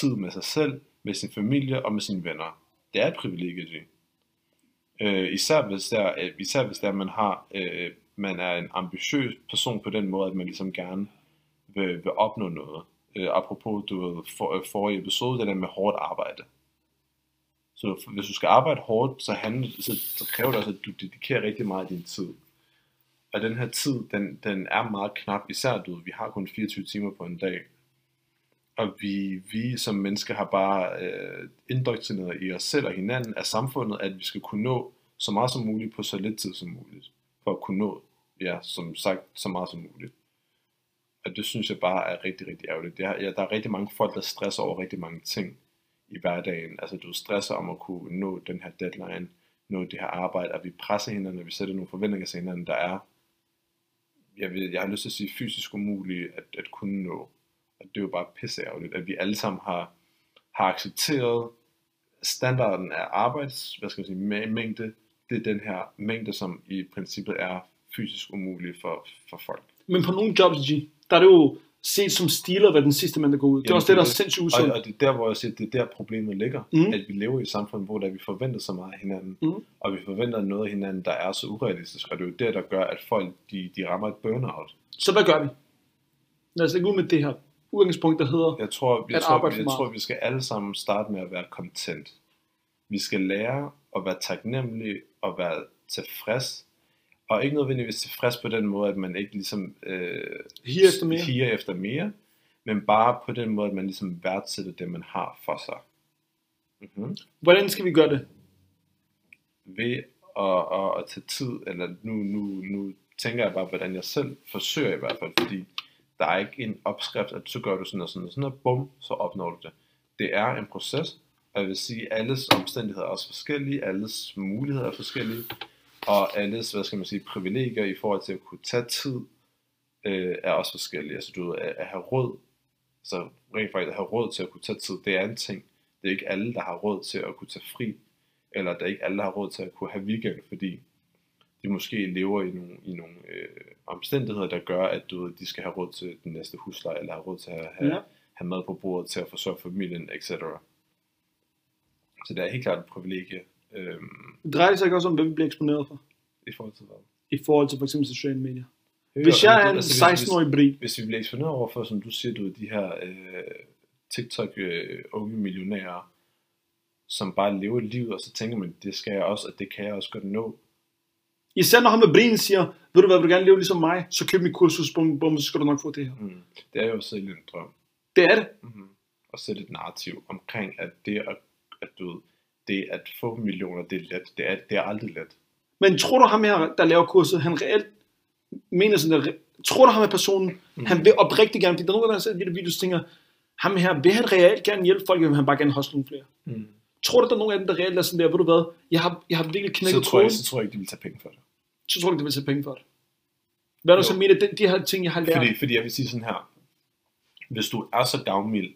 S2: tid med sig selv, med sin familie og med sine venner. Det er et privilegie, det. Øh, især hvis der, øh, især hvis der man har, øh, man er en ambitiøs person på den måde, at man ligesom gerne vil, vil opnå noget. Øh, apropos du ved, for, øh, forrige episode, det der med hårdt arbejde. Så hvis du skal arbejde hårdt, så, handler, så, så kræver det også, at du dedikerer rigtig meget af din tid. Og den her tid, den, den er meget knap, især du ved, vi har kun 24 timer på en dag. Og vi, vi som mennesker har bare øh, indoktrineret i os selv og hinanden af samfundet, at vi skal kunne nå så meget som muligt på så lidt tid som muligt. For at kunne nå, ja, som sagt, så meget som muligt. Og det synes jeg bare er rigtig, rigtig ærgerligt. Det er, ja, der er rigtig mange folk, der stresser over rigtig mange ting i hverdagen. Altså du stresser om at kunne nå den her deadline, nå det her arbejde, og vi presser hinanden, og vi sætter nogle forventninger til hinanden, der er, jeg, ved, jeg har lyst til at sige, fysisk umulige at, at kunne nå. Og det er jo bare pisse ærgerligt, at vi alle sammen har, har accepteret standarden af arbejds, hvad skal man sige, mæ- mængde, det er den her mængde, som i princippet er fysisk umulig for, for folk.
S1: Men på nogle jobs, G, der er det jo set som stiler, hvad den sidste mand, der går ud. det er
S2: Jamen,
S1: også det, der er
S2: det-
S1: sindssygt
S2: Og,
S1: usundt.
S2: og det er der, hvor jeg siger, det er der problemet ligger,
S1: Mm.
S2: mm. at vi lever i et samfund, hvor der vi forventer så meget af hinanden,
S1: Mm.
S2: og vi forventer noget af hinanden, der er så urealistisk, og det er jo det, der gør, at folk de, de rammer et burnout.
S1: Så hvad gør vi? Lad os lægge ud med det her udgangspunkt, der hedder...
S2: Jeg tror, jeg,
S1: At
S2: tror,
S1: arbejde
S2: jeg,
S1: for meget.
S2: tror, vi skal alle sammen starte med at være content. Vi skal lære at være taknemmelige og være tilfreds, og ikke nødvendigvis tilfreds på den måde, at man ikke ligesom øh,
S1: Higer efter mere.
S2: higer efter mere, men bare på den måde, at man ligesom værdsætter det, man har for sig. Mm-hmm.
S1: Hvordan skal vi gøre det?
S2: ved at, at, at tage tid, eller nu, nu, nu tænker jeg bare, hvordan jeg selv forsøger i hvert fald, fordi der er ikke en opskrift, at så gør du sådan og sådan og sådan, og bum, så opnår du det. Det er en proces, og jeg vil sige, alles omstændigheder er også forskellige, alles muligheder er forskellige, og alles, hvad skal man sige, privilegier i forhold til at kunne tage tid, øh, er også forskellige. Altså du ved, at, at have råd, så rent faktisk at have råd til at kunne tage tid, det er en ting. Det er ikke alle, der har råd til at kunne tage fri, eller at der ikke alle der har råd til at kunne have weekend, fordi de måske lever i nogle, i nogle øh, omstændigheder, der gør, at du ved, de skal have råd til den næste husleje, eller have råd til at have,
S1: Ja.
S2: ja. have mad på bordet til at forsørge familien, etc. Så det er helt klart et privilegie øh,
S1: Det drejer sig ikke også om, hvad vi bliver eksponeret for,
S2: i forhold til hvad.
S1: i forhold til for eksempel sociale medier.
S2: Hører,
S1: Hvis jeg er en
S2: altså, hvis- hvis-
S1: 16-årig bri,
S2: hvis vi bliver eksponeret overfor, som du siger, du ved, de her øh, TikTok-unge millionærer, som bare lever livet, og så tænker man, det skal jeg også, og det kan jeg også godt nå.
S1: især når ham med brien siger, ved du hvad, vil du gerne leve ligesom mig, så køb mit kursus, bum, bum, så skal du nok få det her.
S2: Mm. Det er jo at sælge en drøm,
S1: Det er det.
S2: mm. og sætte et narrativ omkring, at det at, at, du ved, det at få millioner, det er let. Det er, det er aldrig let.
S1: Men tror du ham her, der laver kurset, han reelt mener sådan, at tror der ham er personen, mm. han vil oprigtigt gerne, fordi der er nogen, der ser de der video, tænker, ham her vil han reelt gerne hjælpe folk, eller vil han bare gerne hoste nogle flere?
S2: Mm.
S1: Tror du, der er nogen af dem, der reelt er sådan der, ved du hvad, jeg har, jeg har virkelig
S2: Så
S1: knækket
S2: tror, jeg,
S1: koden,
S2: så tror jeg ikke, de vil tage penge for det.
S1: så tror du, det vil tage penge for det. Hvad er du
S2: Jo.
S1: så mener, de, de her ting, jeg har lært?
S2: Fordi, fordi jeg vil sige sådan her, hvis du er så gavmild,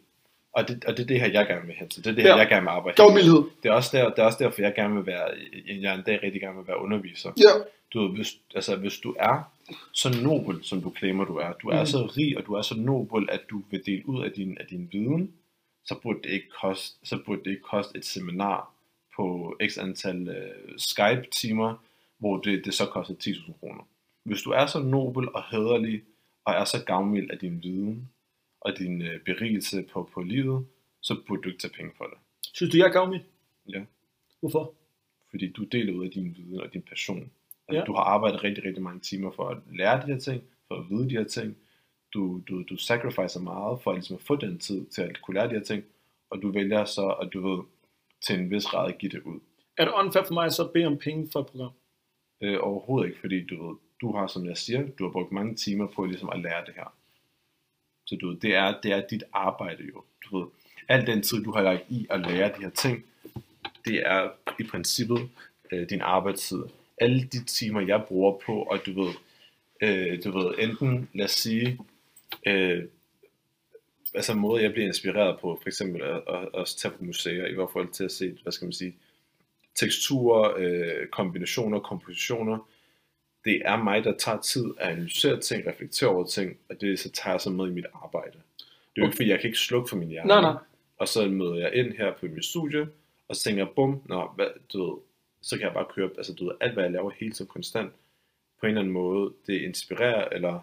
S2: og det, og det er det her, jeg gerne vil hen til, det er det her,
S1: Ja.
S2: jeg gerne vil arbejde hen til.
S1: Gavmildhed.
S2: Det er, også der, det er også derfor, jeg gerne vil være, jeg en dag rigtig gerne vil være underviser.
S1: Ja.
S2: Du ved, hvis, altså, hvis du er så nobel, som du claimer, du er, du er
S1: Mm.
S2: mm. så rig, og du er så nobel, at du vil dele ud af din, af din viden, så burde, det ikke koste, så burde det ikke koste et seminar på x antal øh, Skype-timer, hvor det, det så koster 10.000 kroner. Hvis du er så nobel og hæderlig, og er så gavmild af din viden, og din øh, berigelse på, på livet, så burde du ikke tage penge for det.
S1: Synes du, jeg er gavmild?
S2: Ja.
S1: Hvorfor?
S2: fordi du deler ud af din viden og din passion. Altså,
S1: Ja.
S2: ja. Du har arbejdet rigtig, rigtig mange timer for at lære de her ting, for at vide de her ting. Du, du, du sacrificer meget for at, ligesom, at få den tid til at kunne lære de her ting, og du vælger så, at du ved, til en vis grad at give det ud.
S1: Er det unfair for mig at så bede om penge for et program?
S2: Øh, overhovedet ikke, fordi du ved, du har, som jeg siger, du har brugt mange timer på ligesom, at lære det her. Så du ved, det er, det er dit arbejde jo. Du ved, al den tid, du har lagt i at lære de her ting, det er i princippet øh, din arbejdstid. Alle de timer, jeg bruger på, og du ved, øh, du ved enten, lad os sige, øh, altså en måde, jeg bliver inspireret på, for eksempel at, at, at tage på museer, i hvert fald til at se, hvad skal man sige, teksturer, øh, kombinationer, kompositioner. Det er mig, der tager tid at analysere ting, reflektere over ting, og det så tager jeg så med i mit arbejde. Det er jo ikke, fordi jeg kan ikke slukke for min hjerne.
S1: Nej, nej.
S2: Og så møder jeg ind her på min studie, og så tænker jeg, bum, nå, hvad, du ved, så kan jeg bare køre, altså du ved, alt hvad jeg laver hele tiden konstant, på en eller anden måde, det inspirerer, eller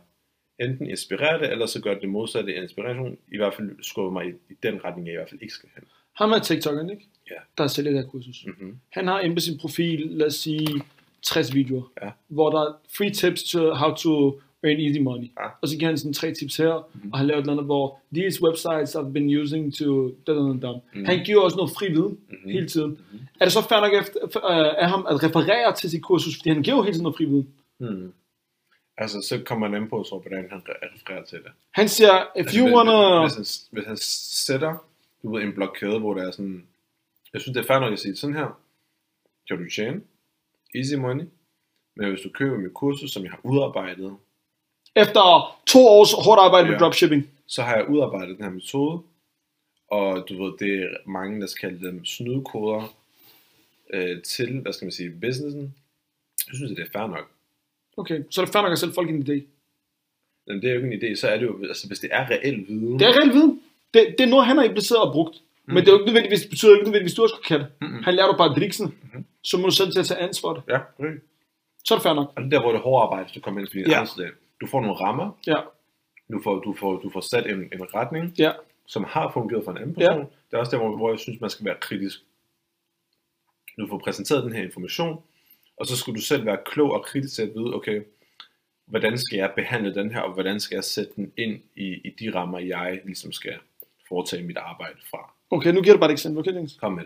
S2: enten inspirerer det, eller så gør det det modsatte af inspiration, i hvert fald skubber mig i, i den retning, jeg i hvert fald ikke skal hen.
S1: Ham er TikTok'eren, ikke?
S2: Ja.
S1: Der sælger det her kursus.
S2: Mm-hmm.
S1: Han har inde på sin profil, lad os sige, 60 videoer,
S2: Ja.
S1: hvor der er free tips to how to earn easy money.
S2: Ja. Mhm.
S1: Og så giver han sådan tre tips her, mm-hmm. og han laver et eller andet, hvor these websites I've been using to da, da, da, da.
S2: Mhm.
S1: Mm-hmm. Han giver også noget fri viden mm-hmm. hele tiden. Mm-hmm. Er det så fair nok efter, øh, af ham at referere til sit kursus, fordi han giver jo hele tiden noget fri viden?
S2: Hmm. Altså, så kommer han an på, tror, jeg, hvordan han re- refererer til det.
S1: Han siger, if
S2: Altså,
S1: you
S2: hvis-
S1: wanna...
S2: Hvis, hvis, han, hvis han sætter du ved, en blokade, hvor der er sådan... Jeg synes, det er fair nok at sige sådan her. Kan du tjene? Easy money. Men hvis du køber mit kursus, som jeg har udarbejdet,
S1: Efter to års hårdt arbejde med
S2: Ja.
S1: dropshipping.
S2: så har jeg udarbejdet den her metode, og du ved, det er mange, der skal kalde dem snydekoder øh, til, hvad skal man sige, businessen. Jeg synes, det er fair nok.
S1: Okay, så er det fair nok at sælge folk en idé.
S2: Men det er jo ikke en idé, så er det jo, altså hvis det er reel viden,
S1: Det er reelt viden. Det, det er noget, han har impliceret og brugt. Mm. Men det er jo ikke nødvendigvis, det betyder jo ikke nødvendigvis, du også kan det. Mm-hmm. Han lærer dig bare driksen. Mm-hmm. Så må du selv til at tage ansvar for det.
S2: ja, okay.
S1: Så er det fair nok.
S2: og det er der, hvor det hårde arbejde, du kommer ind til din
S1: Ja.
S2: ja. Du får nogle rammer,
S1: Ja,
S2: du får, du får, du får sat en, en retning,
S1: ja.
S2: som har fungeret for en anden
S1: Ja.
S2: person. Ja. Det er også der, hvor, hvor jeg synes, man skal være kritisk. Du får præsenteret den her information, og så skulle du selv være klog og kritisk til at vide, okay, hvordan skal jeg behandle den her, og hvordan skal jeg sætte den ind i, i de rammer, jeg ligesom skal foretage mit arbejde fra.
S1: Okay, nu giver du bare et eksempel, okay, Dennis?
S2: Kom med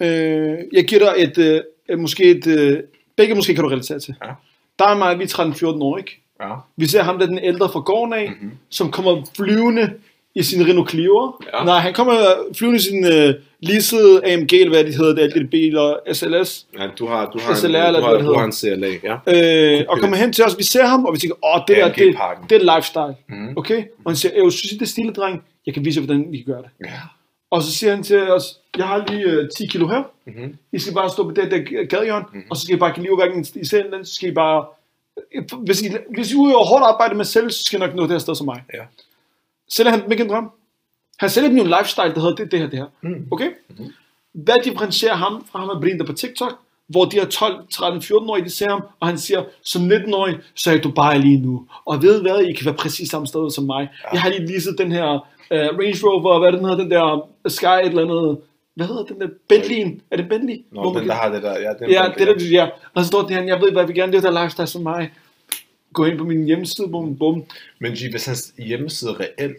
S2: det.
S1: Øh, jeg giver dig et, øh, et måske et, øh, begge måske kan du relatere til.
S2: Ja.
S1: Der er mig, vi er 13-14 år, ikke?
S2: Ja.
S1: Vi ser ham, der er den ældre fra gården af, mm-hmm. som kommer flyvende i sin Renault Clio. Ja.
S2: Ja.
S1: Nej, han kommer flyvende i sin øh, leasede AMG, eller hvad de hedder, det, alle de biler, SLS.
S2: ja du har, du
S1: har en- SLR, eller du har- hvad det du har hedder. en
S2: CLA. Ja.
S1: Øh, og kommer hen til os, vi ser ham, og vi tænker, åh, det der, det,
S2: AMG-pakken.
S1: det er lifestyle. Mm.
S2: Mhm.
S1: Okay? Og han siger, "Øh, jeg synes, I, det er stille, dreng. Jeg kan vise jer, hvordan vi kan gøre det.
S2: ja.
S1: Og så siger han til os, jeg har lige øh, 10 kilo her.
S2: Mhm.
S1: I skal bare stå på det der gadehjørn, og så skal I bare give liv hverken i selv, så skal I bare... Hvis I, hvis I udøver hårdt arbejde med selv, så skal I nok nå det her sted som mig.
S2: Ja.
S1: Sælger han dem ikke en drøm? Han sælger dem jo en lifestyle, der hedder det, det her, det her.
S2: Mhm.
S1: Okay? Hvad differentierer ham fra ham og Brinda på TikTok, hvor de her 12, 13, 14-årige, de ser ham, og han siger, som 19-årig, så er jeg i Dubai lige nu. Og ved I hvad, I kan være præcis samme sted som mig. Ja. Jeg har lige leaset den her uh, Range Rover, hvad er det, den hedder, den der øh, Sky et eller andet, hvad hedder den der, Bentley'en, er det Bentley?
S2: Nå,
S1: Hvor man
S2: den
S1: kan-
S2: der har det der. Ja, den,
S1: Ja,
S2: den,
S1: det der, det der. Og så står det her, jeg ved, hvad vi gerne vil, der er lifestyle som mig. Gå ind på min hjemmeside, bum, bum.
S2: Men G, hvis hans hjemmeside reelt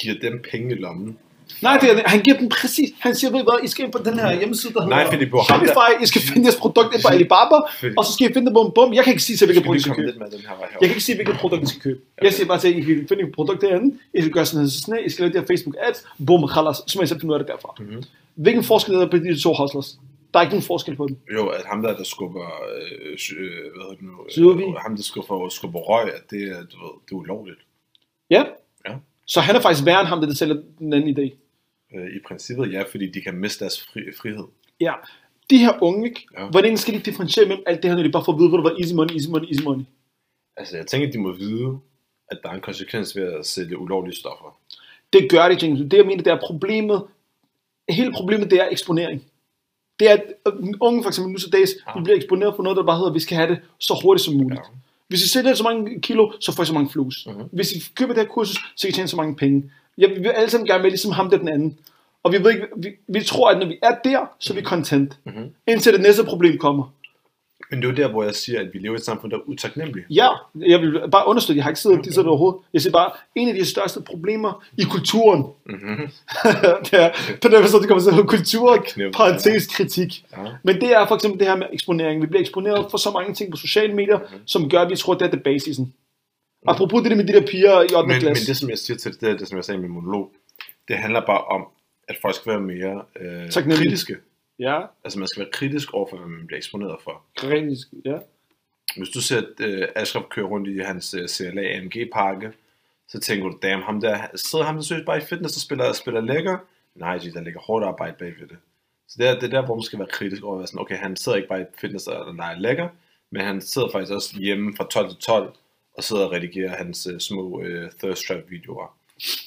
S2: giver dem penge i lommen,
S1: Nej, det er, det. han giver den præcis. Han siger, ved I hvad, I skal ind på den her hjemmeside, der
S2: Nej, fordi på ham, der-
S1: Shopify. I skal finde jeres produkt ind på Alibaba,
S2: Fordi-
S1: og så skal I finde det på en bum. Jeg kan ikke sige, til, hvilket
S2: Skal vi
S1: produkt I
S2: lige
S1: skal
S2: komme
S1: købe.
S2: lidt med den her vej
S1: Jeg
S2: herovre?
S1: kan ikke sige, hvilket produkt I skal købe. Jeg siger bare til, at I kan finde et produkt derinde. I skal gøre sådan her sådan her. I skal lave de her Facebook ads. Bum, khalas. Så må I selv finde ud af det derfra.
S2: Mhm.
S1: Hvilken forskel er der på de to hustlers? Der er ikke nogen forskel på dem.
S2: Jo, at ham der, der skubber, øh, sy- øh, hvad hedder det nu,
S1: Sydovi.
S2: øh, ham der skubber, skubber røg, at det, er, du ved, det er ulovligt.
S1: Ja.
S2: Ja.
S1: Så han er faktisk værre end ham, der, der sælger den anden idé.
S2: Øh, I princippet ja, fordi de kan miste deres fri, frihed.
S1: Ja. De her unge, ikke?
S2: Ja.
S1: hvordan skal de differentiere mellem alt det her, når de bare får at vide, hvor det var easy money, easy money, easy money?
S2: Altså, jeg tænker, at de må vide, at der er en konsekvens ved at sælge ulovlige stoffer.
S1: Det gør det, James. Det jeg mener, det er problemet. Hele problemet, det er eksponering. Det er, at unge for eksempel nu til dags, ja. de bliver eksponeret for noget, der bare hedder, at vi skal have det så hurtigt som muligt.
S2: Ja.
S1: Ja. Hvis I sælger så mange kilo, så får I så mange flues.
S2: Mhm.
S1: Mm-hmm. Hvis I køber det her kursus, så kan I tjene så mange penge. Ja, vi vil alle sammen gerne være ligesom ham der den anden. Og vi, ved ikke, vi, vi tror, at når vi er der, så er vi content.
S2: Mhm.
S1: Mm-hmm. Indtil det næste problem kommer.
S2: Men det er jo der, hvor jeg siger, at vi lever i et samfund, der er utaknemmeligt.
S1: Ja, jeg vil bare understøtte, jeg har ikke siddet og disset det overhovedet. Jeg siger bare, en af de største problemer i kulturen,
S2: Mm-hmm.
S1: det er, på den måde, det kommer til at hedde kultur,
S2: Knep,
S1: parentes, kritik.
S2: Ja.
S1: Men det er for eksempel det her med eksponering. Vi bliver eksponeret for så mange ting på sociale medier,
S2: Mhm.
S1: som gør, at vi tror, det er det basisen. Apropos det der med de der piger i 8.
S2: Men, men
S1: klasse.
S2: det, som jeg siger til det, det, er det, som jeg sagde i min monolog, det handler bare om, at folk skal være mere øh,
S1: Taknemmelige.
S2: kritiske.
S1: Ja,
S2: Altså, man skal være kritisk overfor, hvad man bliver eksponeret for.
S1: kritisk. Ja.
S2: Hvis du ser øh, Ashraf køre rundt i hans øh, CLA AMG-pakke, så tænker du, damn, ham der, sidder ham der seriøst bare i fitness og spiller, spiller lækker? Nej, G, der ligger hårdt arbejde bagved det. Så det er, det er der, hvor man skal være kritisk over, at være sådan, okay, han sidder ikke bare i fitness og leger lækker, men han sidder faktisk også hjemme fra 12 til 12 og sidder og redigerer hans øh, små øh, thirst trap videoer.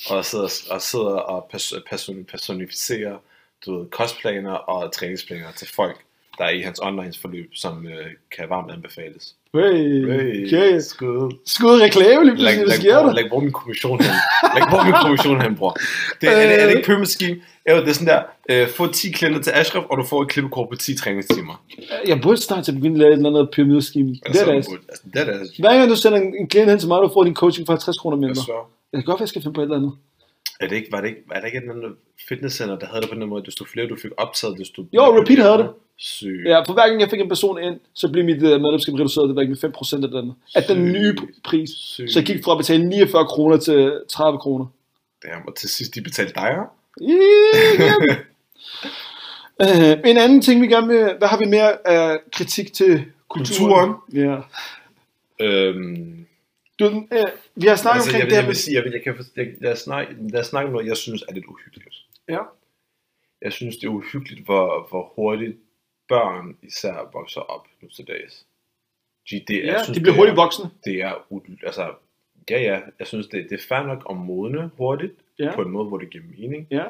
S2: Og sidder og, sidder og pers- person- personificerer du ved, kostplaner og træningsplaner til folk, der er i hans online forløb, som øh, kan varmt anbefales.
S1: Hey, okay.
S2: Skud.
S1: Skud reklame lige
S2: Læg,
S1: pludselig, hvad
S2: læg,
S1: sker
S2: hvor,
S1: der?
S2: læg hvor min kommission hen. Læg hvor min kommission hen, bror. Det, er, det, er
S1: Øh.
S2: det ikke pyramid scheme? Jo, det er sådan der, øh, få 10 klienter til Ashraf, og du får et klippekort på 10 træningstimer.
S1: Jeg burde snart til at begynde at lave et eller andet pyramideskeme. Det er det altså.
S2: altså. Det er det altså.
S1: Hver gang du sender en en klient hen til mig, du får din coaching for 50 kroner
S2: Jeg
S1: mindre.
S2: sværger.
S1: Jeg kan godt være, jeg skal finde på et eller andet.
S2: Er det ikke, var, det ikke, var det ikke et eller andet fitnesscenter, der havde det på den måde, desto flere du fik optaget, desto...
S1: Jo, Repeat havde det.
S2: Sygt.
S1: Ja, for hver gang jeg fik en person ind, så blev mit øh, medlemskab reduceret det var ikke med 5% af den, af den
S2: Sygt.
S1: nye pris.
S2: Sygt.
S1: Så jeg gik fra at betale 49 kroner til 30 kroner.
S2: Damn, og til sidst, de betalte dig, ja?
S1: Yeah, yeah. Øh, en anden ting, vi gerne vil... Hvad har vi mere af kritik til kulturen?
S2: Kulturen.
S1: Ja.
S2: Øhm,
S1: Du, ved, øh, vi har snakket
S2: altså,
S1: omkring
S2: jeg, vil,
S1: det
S2: jeg
S1: her
S2: vil
S1: med...
S2: sige, jeg, vil, jeg kan, forst- jeg, jeg, snakker, jeg snakker om noget, jeg synes er lidt uhyggeligt.
S1: Ja.
S2: jeg synes, det er uhyggeligt, hvor, hvor hurtigt børn især vokser op nu til dags. De, det,
S1: Ja, de bliver hurtigt
S2: det er,
S1: voksne.
S2: det er, u- altså, ja, ja, jeg synes, det, det er fair nok at modne hurtigt,
S1: Ja.
S2: på en måde, hvor det giver mening.
S1: Ja.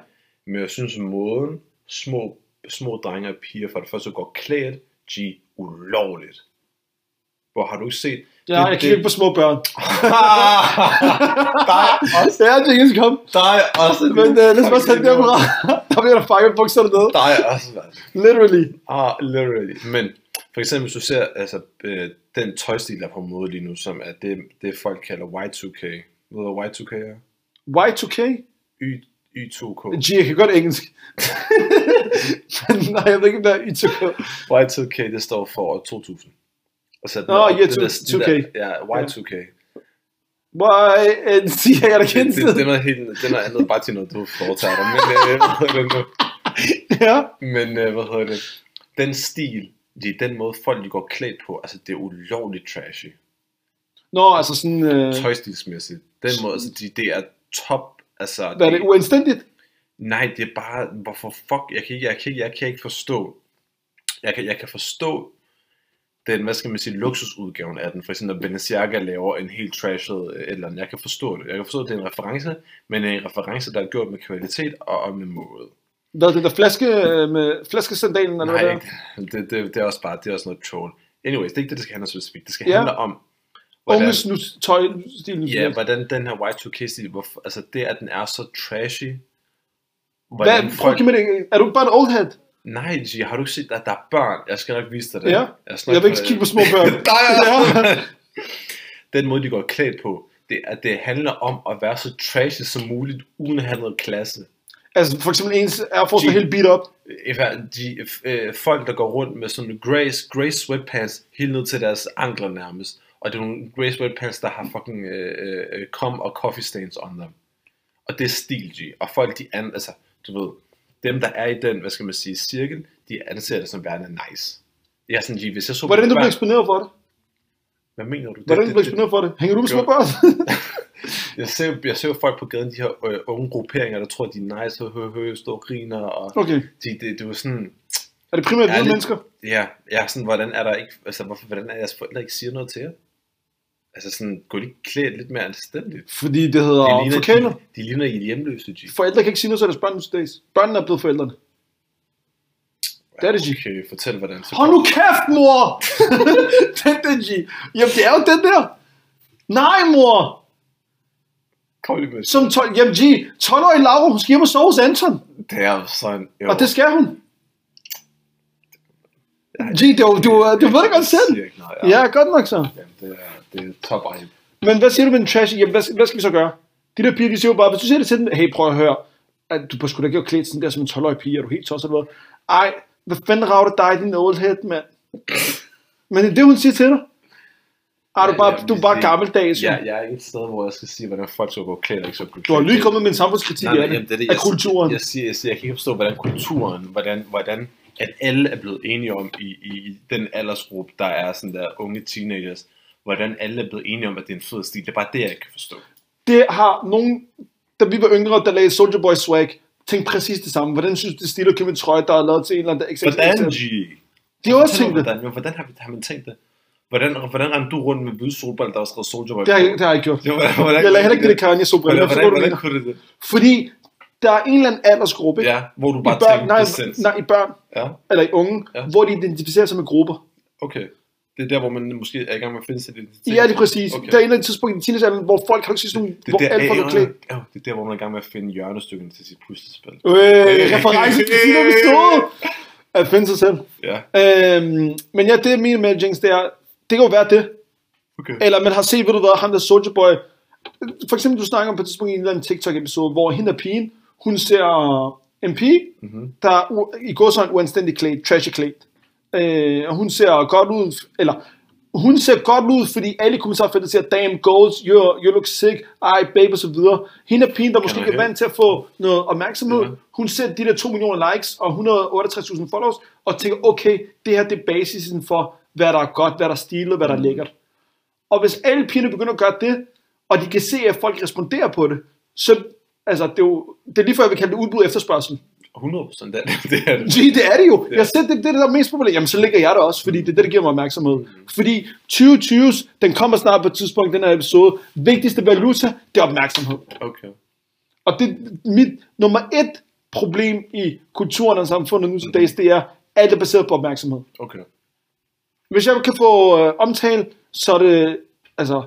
S2: Men jeg synes, måden små, små drenge og piger for det første går klædt, de ulovligt. Hvor har du ikke set?
S1: Ja, jeg kigger ikke på små børn.
S2: dig, også,
S1: Ja, det er ikke kom.
S2: dig også.
S1: Men øh, lad os bare tage det derfra. Der bliver der fanget bukserne ned.
S2: Dig også, mand.
S1: Literally.
S2: Ah, literally. Men for eksempel, hvis du ser altså, øh, den tøjstil, der er på mode lige nu, som er det, det folk kalder Y2K. Ved du, hvad Y2K er?
S1: Y2K?
S2: Y, Y2K.
S1: Gee, jeg kan godt engelsk. Men nej, jeg ved ikke, hvad Y2K
S2: Y2K, det står for år 2000. Og så den
S1: Nå,
S2: der-
S1: ja,
S2: den der-
S1: 2K.
S2: den der- Ja, Y2K.
S1: Why and see, jeg der
S2: Det,
S1: kendt
S2: det, det, er noget helt det er noget andet, bare til noget, du foretager dig. Men, øh, hvad hedder det nu?
S1: Ja.
S2: Men øh, hvad hedder det? Den stil, det er den måde, folk de går klædt på. Altså, det er ulovligt trashy.
S1: Nå, altså sådan, øh,
S2: Tøjstilsmæssigt. Den måde, altså, de, det er top. Altså,
S1: hvad er det, uanstændigt?
S2: Nej, det er bare, hvorfor fuck, jeg kan ikke, jeg kan, ikke- jeg kan ikke forstå, jeg kan, jeg kan forstå den, hvad skal man sige, luksusudgaven af den. For eksempel, når Balenciaga laver en helt trashed øh, et eller andet. Jeg kan forstå det. Jeg kan forstå, at det er en reference, men en reference, der er gjort med kvalitet og, og med måde.
S1: Hvad er det der flaske øh, med flaskesandalen? Eller
S2: Nej,
S1: hvad det
S2: ikke. det, det, det, er også bare, det er også noget troll. Anyways, det er ikke det, det skal handle om specifikt. Det skal
S1: Ja.
S2: handle om,
S1: er? Unge snus, tøj, stil, nu,
S2: ja, hvordan den her Y2K-stil, hvorfor, altså det, at den er så trashy,
S1: Hvad, prøv at give mig det. Er du ikke bare en old head?
S2: Nej, G, har du ikke set, at der er børn? Jeg skal nok vise dig det.
S1: Ja.
S2: jeg,
S1: Jeg vil ikke kigge på små børn.
S2: Nej,
S1: ja.
S2: Den måde, de går klædt på, det er, at det handler om at være så trashy som muligt, uden at have noget klasse.
S1: Altså for eksempel ens Air Force, der er
S2: Jeep.
S1: helt beat up.
S2: i hver- de øh, folk, der går rundt med sådan nogle grey, grey sweatpants helt ned til deres ankler nærmest. Og det er nogle grey sweatpants, der har fucking øh, øh, cum og coffee stains on them. Og det er stil, G. Og folk, de an, altså, du ved, dem, der er i den, hvad skal man sige, cirkel, de anser det som værende nice. Jeg er sådan, G, hvis jeg så...
S1: Hvordan du blev
S2: hvad,
S1: eksponeret for det?
S2: hvad mener du? Det-
S1: Hvordan du
S2: det-
S1: blev
S2: det-
S1: eksponeret for det? Hænger du med
S2: Jo.
S1: småbørn?
S2: jeg, ser, jo- jeg ser jo folk på gaden, de her øh, unge grupperinger, der tror, de er nice, og hø, hø, står og griner, og
S1: Okay.
S2: de, det, det er jo sådan,
S1: Er det primært hvide
S2: Ærligt.
S1: mennesker?
S2: Ja, ja, sådan, hvordan er der ikke, altså, hvorfor, hvordan er jeres forældre ikke siger noget til jer? Altså sådan, gå lige klædt lidt mere anstændigt.
S1: Fordi det hedder forkælet.
S2: de, de ligner I hjemløse, G.
S1: Forældre kan ikke sige noget til deres børn nu til dags. Børnene er blevet forældrene. Det er det, G.
S2: Okay, fortæl, hvordan så
S1: Hold nu kæft, mor! den der, G. Jamen, det er jo den der. Nej, mor!
S2: Kom lige med.
S1: Som 12... Jamen, G. 12-årig Laura, hun skal hjem og sove hos Anton.
S2: Det er jo sådan, jo.
S1: Og det skal hun. G, du, du, du ved det godt selv.
S2: siger ikke noget,
S1: Ja, godt nok så.
S2: Jamen, det er, det er top ej.
S1: Men hvad siger du med den trash? Jamen, hvad, hvad skal vi så gøre? De der piger, de siger jo bare, hvis du siger det til dem, hey, prøv at høre, at du bør sgu da ikke have klædt sådan der som en 12-årig pige, er du helt tosset eller hvad? Ej, hvad fanden rager det dig, din old head, mand? Men det er det, hun siger til dig. Ej, du er bare,
S2: Jamen,
S1: du er bare
S2: det-
S1: gammeldags.
S2: Ja,
S1: Ja,
S2: jeg er ikke et sted, hvor jeg skal sige, hvordan folk skal gå klædt og ikke skal gå klædt.
S1: Du har lige kommet med en samfundskritik
S2: Nej,
S1: af
S2: nej,
S1: det,
S2: jamen, det er det,
S1: af
S2: jeg-
S1: kulturen.
S2: Jeg, siger, jeg, siger, jeg kan ikke forstå, hvordan kulturen, hvordan, hvordan at alle er blevet enige om i, i, i den aldersgruppe, der er sådan der unge teenagers, hvordan alle er blevet enige om, at det er en fed stil. Det er bare det, jeg ikke kan forstå.
S1: Det har nogen, da vi var yngre, der lagde Soldier Boy Swag, tænkte præcis det samme. Hvordan synes du, det er stil at købe en trøje, der er lavet til en eller anden, der
S2: Hvordan, G?
S1: De har også
S2: Fortæl mig,
S1: tænkt det.
S2: Hvordan, hvordan har, vi- har man tænkt det? Hvordan, hvordan rendte du rundt med hvide solbriller, der var skrevet Soldier Boy?
S1: Det har,
S2: på?
S1: jeg- det har jeg ikke gjort.
S2: Det var- hvordan-
S1: Jeg lagde heller ikke det der Kanye
S2: Hvordan,
S1: sobriller.
S2: hvordan, hvordan kunne du det?
S1: Fordi der er en eller anden aldersgruppe, ikke?
S2: Ja, hvor du
S1: I
S2: bare
S1: børn,
S2: tænkte,
S1: nej,
S2: det er sindssygt.
S1: nej, i børn,
S2: Ja,
S1: eller i unge,
S2: Ja.
S1: ja. hvor de identificerer sig med grupper.
S2: okay. Det er der, hvor man måske er i gang med at finde sin identitet.
S1: Ja, det er præcis.
S2: Okay.
S1: Okay. Der er et eller andet tidspunkt i teenagealderen, hvor folk kan ikke sige sådan, nogle-
S2: Det
S1: hvor
S2: er, der,
S1: alt folk er klædt.
S2: ja, det er der, hvor man er i gang med at finde hjørnestykkerne til sit puslespil.
S1: Øh, reference til siden af bestået. At finde sig selv.
S2: Ja,
S1: Øhm, men ja, det er min med Jinx, det er, det kan jo være det.
S2: okay.
S1: Eller man har set, ved du hvad, ham der Soulja Boy. For eksempel, du snakker om på et tidspunkt i en eller anden TikTok-episode, hvor hende og pigen, hun ser en pige,
S2: Mhm.
S1: mm-hmm. der er u- i går sådan uanstændig klædt, trashy klædt. Øh, og hun ser godt ud, eller hun ser godt ud, fordi alle kommentarfeltet siger, damn goals, you, you look sick, ej, babe, og så videre. Hende og pigen, der måske
S2: man
S1: ikke er
S2: høre?
S1: vant til at få noget opmærksomhed,
S2: Ja.
S1: hun ser de der 2 millioner likes og 168.000 followers, og tænker, okay, det her det er basisen for, hvad der er godt, hvad der er stilet, hvad der er
S2: Mm.
S1: lækkert. Og hvis alle pigerne begynder at gøre det, og de kan se, at folk responderer på det, så altså, det er jo, det er lige før, jeg vil kalde det udbud og efterspørgsel.
S2: 100% det, det er det.
S1: Gee, det er det jo.
S2: Ja.
S1: Ja. Jeg siger, det, det er det, der er mest populært. Jamen, så ligger jeg der også, fordi det er det, der giver mig opmærksomhed. Fordi 2020's, den kommer snart på et tidspunkt, den her episode. Vigtigste valuta, det er opmærksomhed.
S2: Okay.
S1: Og det mit nummer et problem i kulturen og samfundet nu til dags, det er, alt er baseret på opmærksomhed.
S2: Okay.
S1: Hvis jeg kan få øh, omtale, så er det, altså,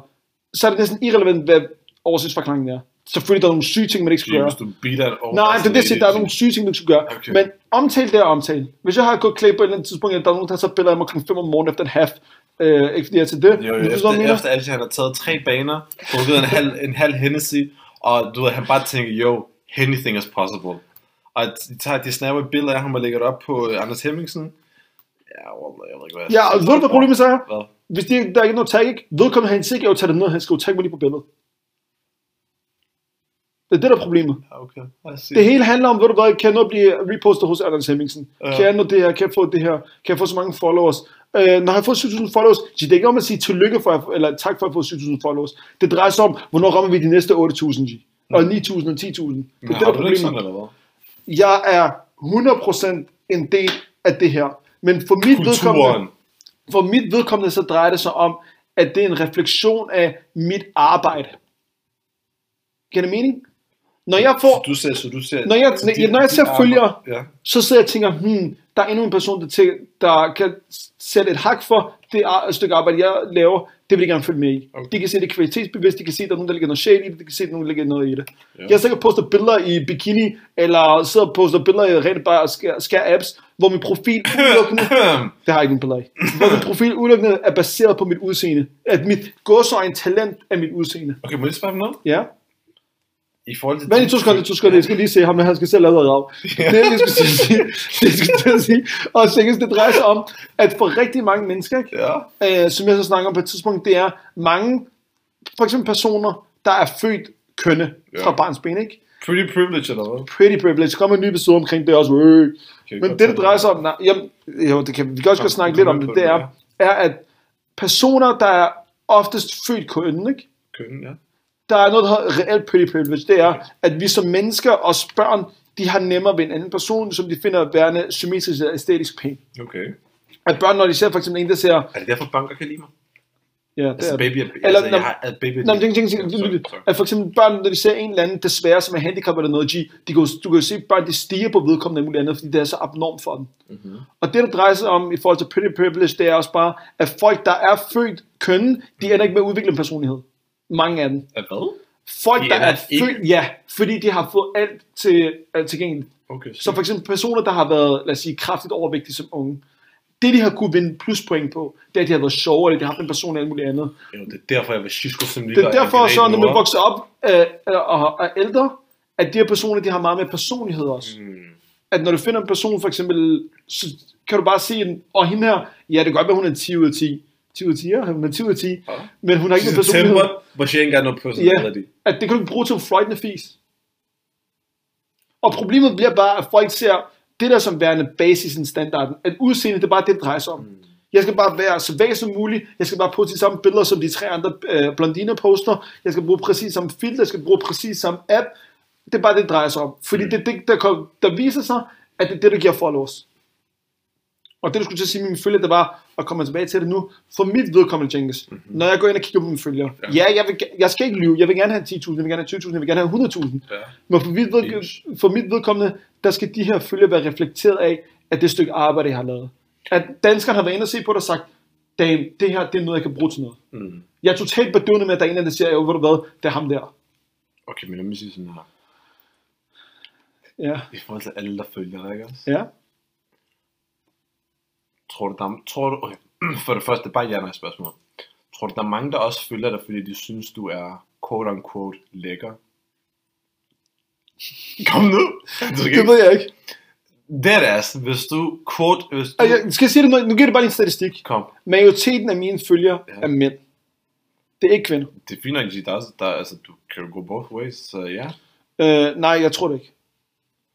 S1: så er det næsten irrelevant, hvad oversigtsforklaringen er. Selvfølgelig der er nogle syge ting, man ikke skal
S2: Fordi
S1: gøre.
S2: hvis du beater et år... altså,
S1: Nej, det er det, jeg siger, der er nogle syge ting, du skal gøre.
S2: Okay.
S1: Okay. Men omtale det er omtale. Hvis jeg har gået klædt på et eller andet tidspunkt, eller der er nogen, der tager billeder af mig kl. 5 om morgenen efter en half, øh, ikke fordi jeg er til det.
S2: Jo, jo,
S1: men du
S2: efter,
S1: forstår, hvad jeg mener?
S2: efter alt, han har taget tre baner, drukket en halv, en halv Hennessy, og du ved, han bare tænker, jo, anything is possible. Og de, tager, de snapper et billede af ham og lægger det op på øh, Anders Hemmingsen. Ja, wallah, jeg ved ikke, hvad jeg
S1: Ja, og ved du, hvad problemet så er?
S2: Hvad?
S1: Hvis de, der er ikke noget tag, ikke? Vedkommende har en sikker, jeg tager det ned, han skal jo tagge mig lige på billedet. Det er det, der er problemet.
S2: Ja, Okay, lad os se.
S1: Det hele handler om, ved du hvad, kan jeg nå at blive repostet hos Anders Hemmingsen?
S2: Ja.
S1: Ja. Kan jeg nå det her? Kan jeg få det her? Kan jeg få så mange followers? Øh, når jeg har fået 7.000 followers, så det er ikke om at sige tillykke for, eller tak for at få 7.000 followers. Det drejer sig om, hvornår rammer vi de næste 8.000, G? Og 9.000 og 10.000. Det er det,
S2: Mm. Men
S1: der
S2: har
S1: er
S2: du det ikke sådan,
S1: problemet.
S2: eller hvad?
S1: Jeg er 100% en del af det her. Men for mit vedkommende,
S2: Kulturen.
S1: for mit vedkommende, så drejer det sig om, at det er en refleksion af mit arbejde. Giver det mening? Når jeg får
S2: Så du ser, så du ser...
S1: Når jeg-
S2: så dit-
S1: når jeg
S2: dit
S1: ser
S2: arbejde-
S1: følgere-
S2: Ja.
S1: så sidder jeg og tænker, hmm, der er endnu en person, der, tæ- der kan sætte et hak for det ar- stykke arbejde, jeg laver, det vil de gerne følge med i.
S2: Okay.
S1: Okay. De kan se, det er kvalitetsbevidst, de kan se, at der er nogen, der ligger noget sjæl i det, de kan se, at der er nogen, der ligger noget i det.
S2: Ja.
S1: Ja. Jeg sikkert poster billeder i bikini, eller sidder og poster billeder i rent bare skær, skær apps, hvor min profil udelukkende, det har jeg ikke en billeder af, hvor min profil udelukkende er baseret på mit udseende. At mit godsøjne talent er mit udseende.
S2: Okay, må jeg lige spørge om noget?
S1: Ja.
S2: i forhold til...
S1: Vent lige to sekunder, to sekunder, jeg skal lige se ham, han skal selv lave noget af. Det, jeg skulle til at sige, det, jeg skulle til at sige, og sikkert, det drejer sig om, at for rigtig mange mennesker, ikke,
S2: Ja,
S1: øh, som jeg så snakker om på et tidspunkt, det er mange, for eksempel personer, der er født kønne
S2: Ja.
S1: fra barns ben, ikke?
S2: pretty privilege eller hvad?
S1: Pretty privilege, så kommer en ny episode omkring det også, øh.
S2: Kan
S1: Men
S2: vi godt
S1: det,
S2: tage
S1: det drejer sig om, nej, jamen, jo, det kan vi kan også
S2: Kom,
S1: godt snakke
S2: kom
S1: lidt
S2: med
S1: om det,
S2: på
S1: det
S2: den,
S1: er, er, at personer, der er oftest født kønne, ikke?
S2: Køn, ja.
S1: der er noget, der hedder reelt pretty privilege, det er, at vi som mennesker og børn, de har nemmere ved en anden person, som de finder værende symmetrisk eller æstetisk pæn.
S2: Okay.
S1: At børn, når de ser for eksempel en, der ser...
S2: Er det derfor, banker kan lide mig?
S1: Ja, det
S2: Altså,
S1: er det.
S2: baby, altså,
S1: Eller,
S2: jeg
S1: når-
S2: har at baby...
S1: Nå, men tænk, tænk,
S2: Ja,
S1: tænk,
S2: sorry,
S1: lyt,
S2: sorry.
S1: at for eksempel børn, når de ser en eller anden desværre, som er handicap eller noget, de, de kan, jo- du kan jo se, at børn de stiger på vedkommende og muligt andet, fordi det er så abnormt for dem.
S2: Mhm.
S1: Mm-hmm. Og det, der drejer sig om i forhold til pretty privilege, det er også bare, at folk, der er født kønne, de ender ikke med at udvikle en personlighed. Mange af dem.
S2: At hvad?
S1: Folk,
S2: De
S1: der
S2: ender
S1: er
S2: ikke-
S1: født, ja, fordi de har fået alt til, alt tilgængeligt.
S2: Okay,
S1: Så for eksempel personer, der har været, lad os sige, kraftigt overvægtige som unge, det de har kunne vinde pluspoint på, det er, at de har været sjove, eller de har haft en person eller alt muligt andet.
S2: Jo, det er derfor, jeg var Shishko som ligger...
S1: Det er derfor så, når man vokser op øh, og er ældre, at de her personer, de har meget med personlighed også.
S2: Mm.
S1: At når du finder en person, for eksempel, så kan du bare se, en, og hende her, ja, det kan godt være, hun er 10 ud af 10. 10 ud af 10, ja, hun er 10 ud af 10,
S2: Ja.
S1: men hun har ikke en personlighed.
S2: September, hvor jeg ikke engang noget personality. Yeah.
S1: At det kan du ikke bruge til en fløjtende fis. Og problemet bliver bare, at folk ser det der som værende basisen standarden. At udseende, det er bare det, det drejer sig om. Mm. Jeg skal bare være så vag som muligt. Jeg skal bare poste de samme billeder, som de tre andre øh, blondiner poster. Jeg skal bruge præcis samme filter. Jeg skal bruge præcis samme app. Det er bare det, det drejer sig om. Fordi mm. det er det, der, kom, der viser sig, at det er det, der giver followers. Og det, du skulle til at sige med mine følger, det var, og kommer tilbage til det nu, for mit vedkommende, Jenkins, mm-hmm. når jeg går ind og kigger på mine følger, ja, ja jeg, vil, ge- jeg skal ikke lyve, jeg vil gerne have 10.000, jeg vil gerne have 20.000, jeg vil gerne have 100.000.
S2: Ja.
S1: Men for mit, vedkommende, for mit vedkommende, der skal de her følger være reflekteret af, at det stykke arbejde, jeg har lavet. At danskerne har været inde og se på det og sagt, damn, det her, det er noget, jeg kan bruge til noget.
S2: Mm.
S1: Jeg er totalt bedøvende med, at der er en, der siger, jo, ved du hvad, det er ham der.
S2: Okay, men lad mig sige sådan her.
S1: Ja,
S2: I forhold til alle, der følger dig, ikke også?
S1: ja.
S2: Tror du, der er, tror du, okay. for det første, bare ja, nej spørgsmål. Tror du, der er mange, der også følger dig, fordi de synes, du er quote unquote lækker? Kom nu! Du skal
S1: Det
S2: ikke...
S1: ved jeg ikke.
S2: That ass, hvis du quote... Hvis du...
S1: Og jeg skal jeg sige det noget, nu giver det bare lige en statistik.
S2: Kom.
S1: Majoriteten af mine følger ja.
S2: Ja.
S1: er mænd. Det er ikke kvinder.
S2: Det er fint nok, at sige, der, er- der, er- altså, du kan jo gå both ways, så ja.
S1: Øh, nej, jeg tror det ikke.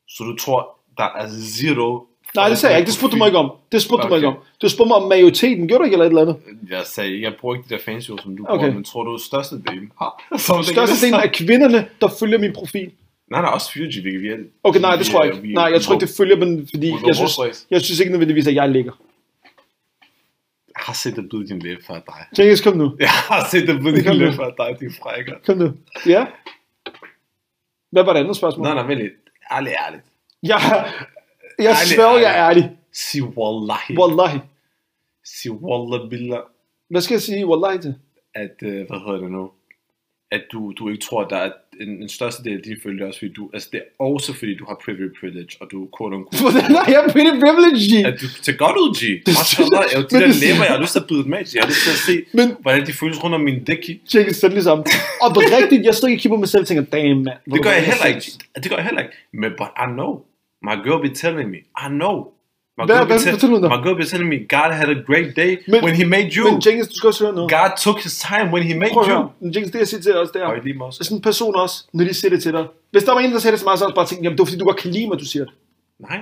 S2: Så du tror, der er zero...
S1: Nej, det sagde jeg ikke. Det spurgte du mig ikke om. Det spurgte okay. du mig ikke
S2: Okay.
S1: om. Du spurgte mig om majoriteten. Gjorde du ikke eller et eller andet?
S2: Jeg sagde ikke, jeg bruger ikke de der fancy ord, som du
S1: Okay.
S2: okay. bruger, men tror du, størstedelen har? Som
S1: Størstedelen af kvinderne, der følger min profil.
S2: Nej, der er også 4G, vi kan
S1: Okay, nej, det tror jeg ikke. Nej, jeg tror ikke, det følger, men fordi
S2: Ud over
S1: jeg synes,
S2: vores race.
S1: jeg synes ikke nødvendigvis, at jeg ligger.
S2: Jeg har set det bløde i din læbe fra dig.
S1: Jenkins, kom nu.
S2: Jeg har set det bløde i
S1: Kom
S2: din
S1: nu.
S2: læbe fra dig, din frækker.
S1: Kom nu. Ja? Hvad var det andet spørgsmål?
S2: Nej, nej, vent lidt. Ærligt, ærligt.
S1: Jeg, jeg
S2: Ærlig,
S1: sværger, jeg er ærlig.
S2: Sig wallahi.
S1: Wallahi.
S2: Sig wallah billah.
S1: Hvad skal jeg sige wallahi til?
S2: At, øh, hvad hedder det nu? At du, du ikke tror, at der er en, en største del af dine følgere også, fordi du, altså det er også fordi, du har privy privilege, og du er quote unquote.
S1: Hvordan er jeg pretty privileged? G?
S2: At du ser godt ud, G. Mashallah, jeg er jo de
S1: Men
S2: der
S1: det-
S2: læber, jeg har lyst til at byde dem af, G. Jeg har lyst til at se,
S1: Men-
S2: hvordan de føles rundt om min dæk. G.
S1: Jenkins, send lige sammen. Og på rigtigt, jeg står ikke og kigger på mig selv og tænker, damn, mand.
S2: Det gør jeg heller ikke. Det gør jeg heller ikke. Men but I know. My girl be telling me. I know. My
S1: Hvad-
S2: girl,
S1: hvad
S2: be, tell-
S1: fortæller hun dig?
S2: my girl be telling me God had a great day
S1: Men-
S2: when he made you.
S1: Men Jenkins, du skal også høre noget.
S2: God took his time when he made
S1: Prøv at
S2: you.
S1: høre. Men Jenkins, det jeg siger til dig også, det er,
S2: Og i lige måde
S1: så
S2: også.
S1: sådan en person også, når de siger det til dig. Hvis der var en, der sagde det til mig, så også bare tænkte, jamen det var fordi, du godt kan lide mig, du siger det.
S2: Nej.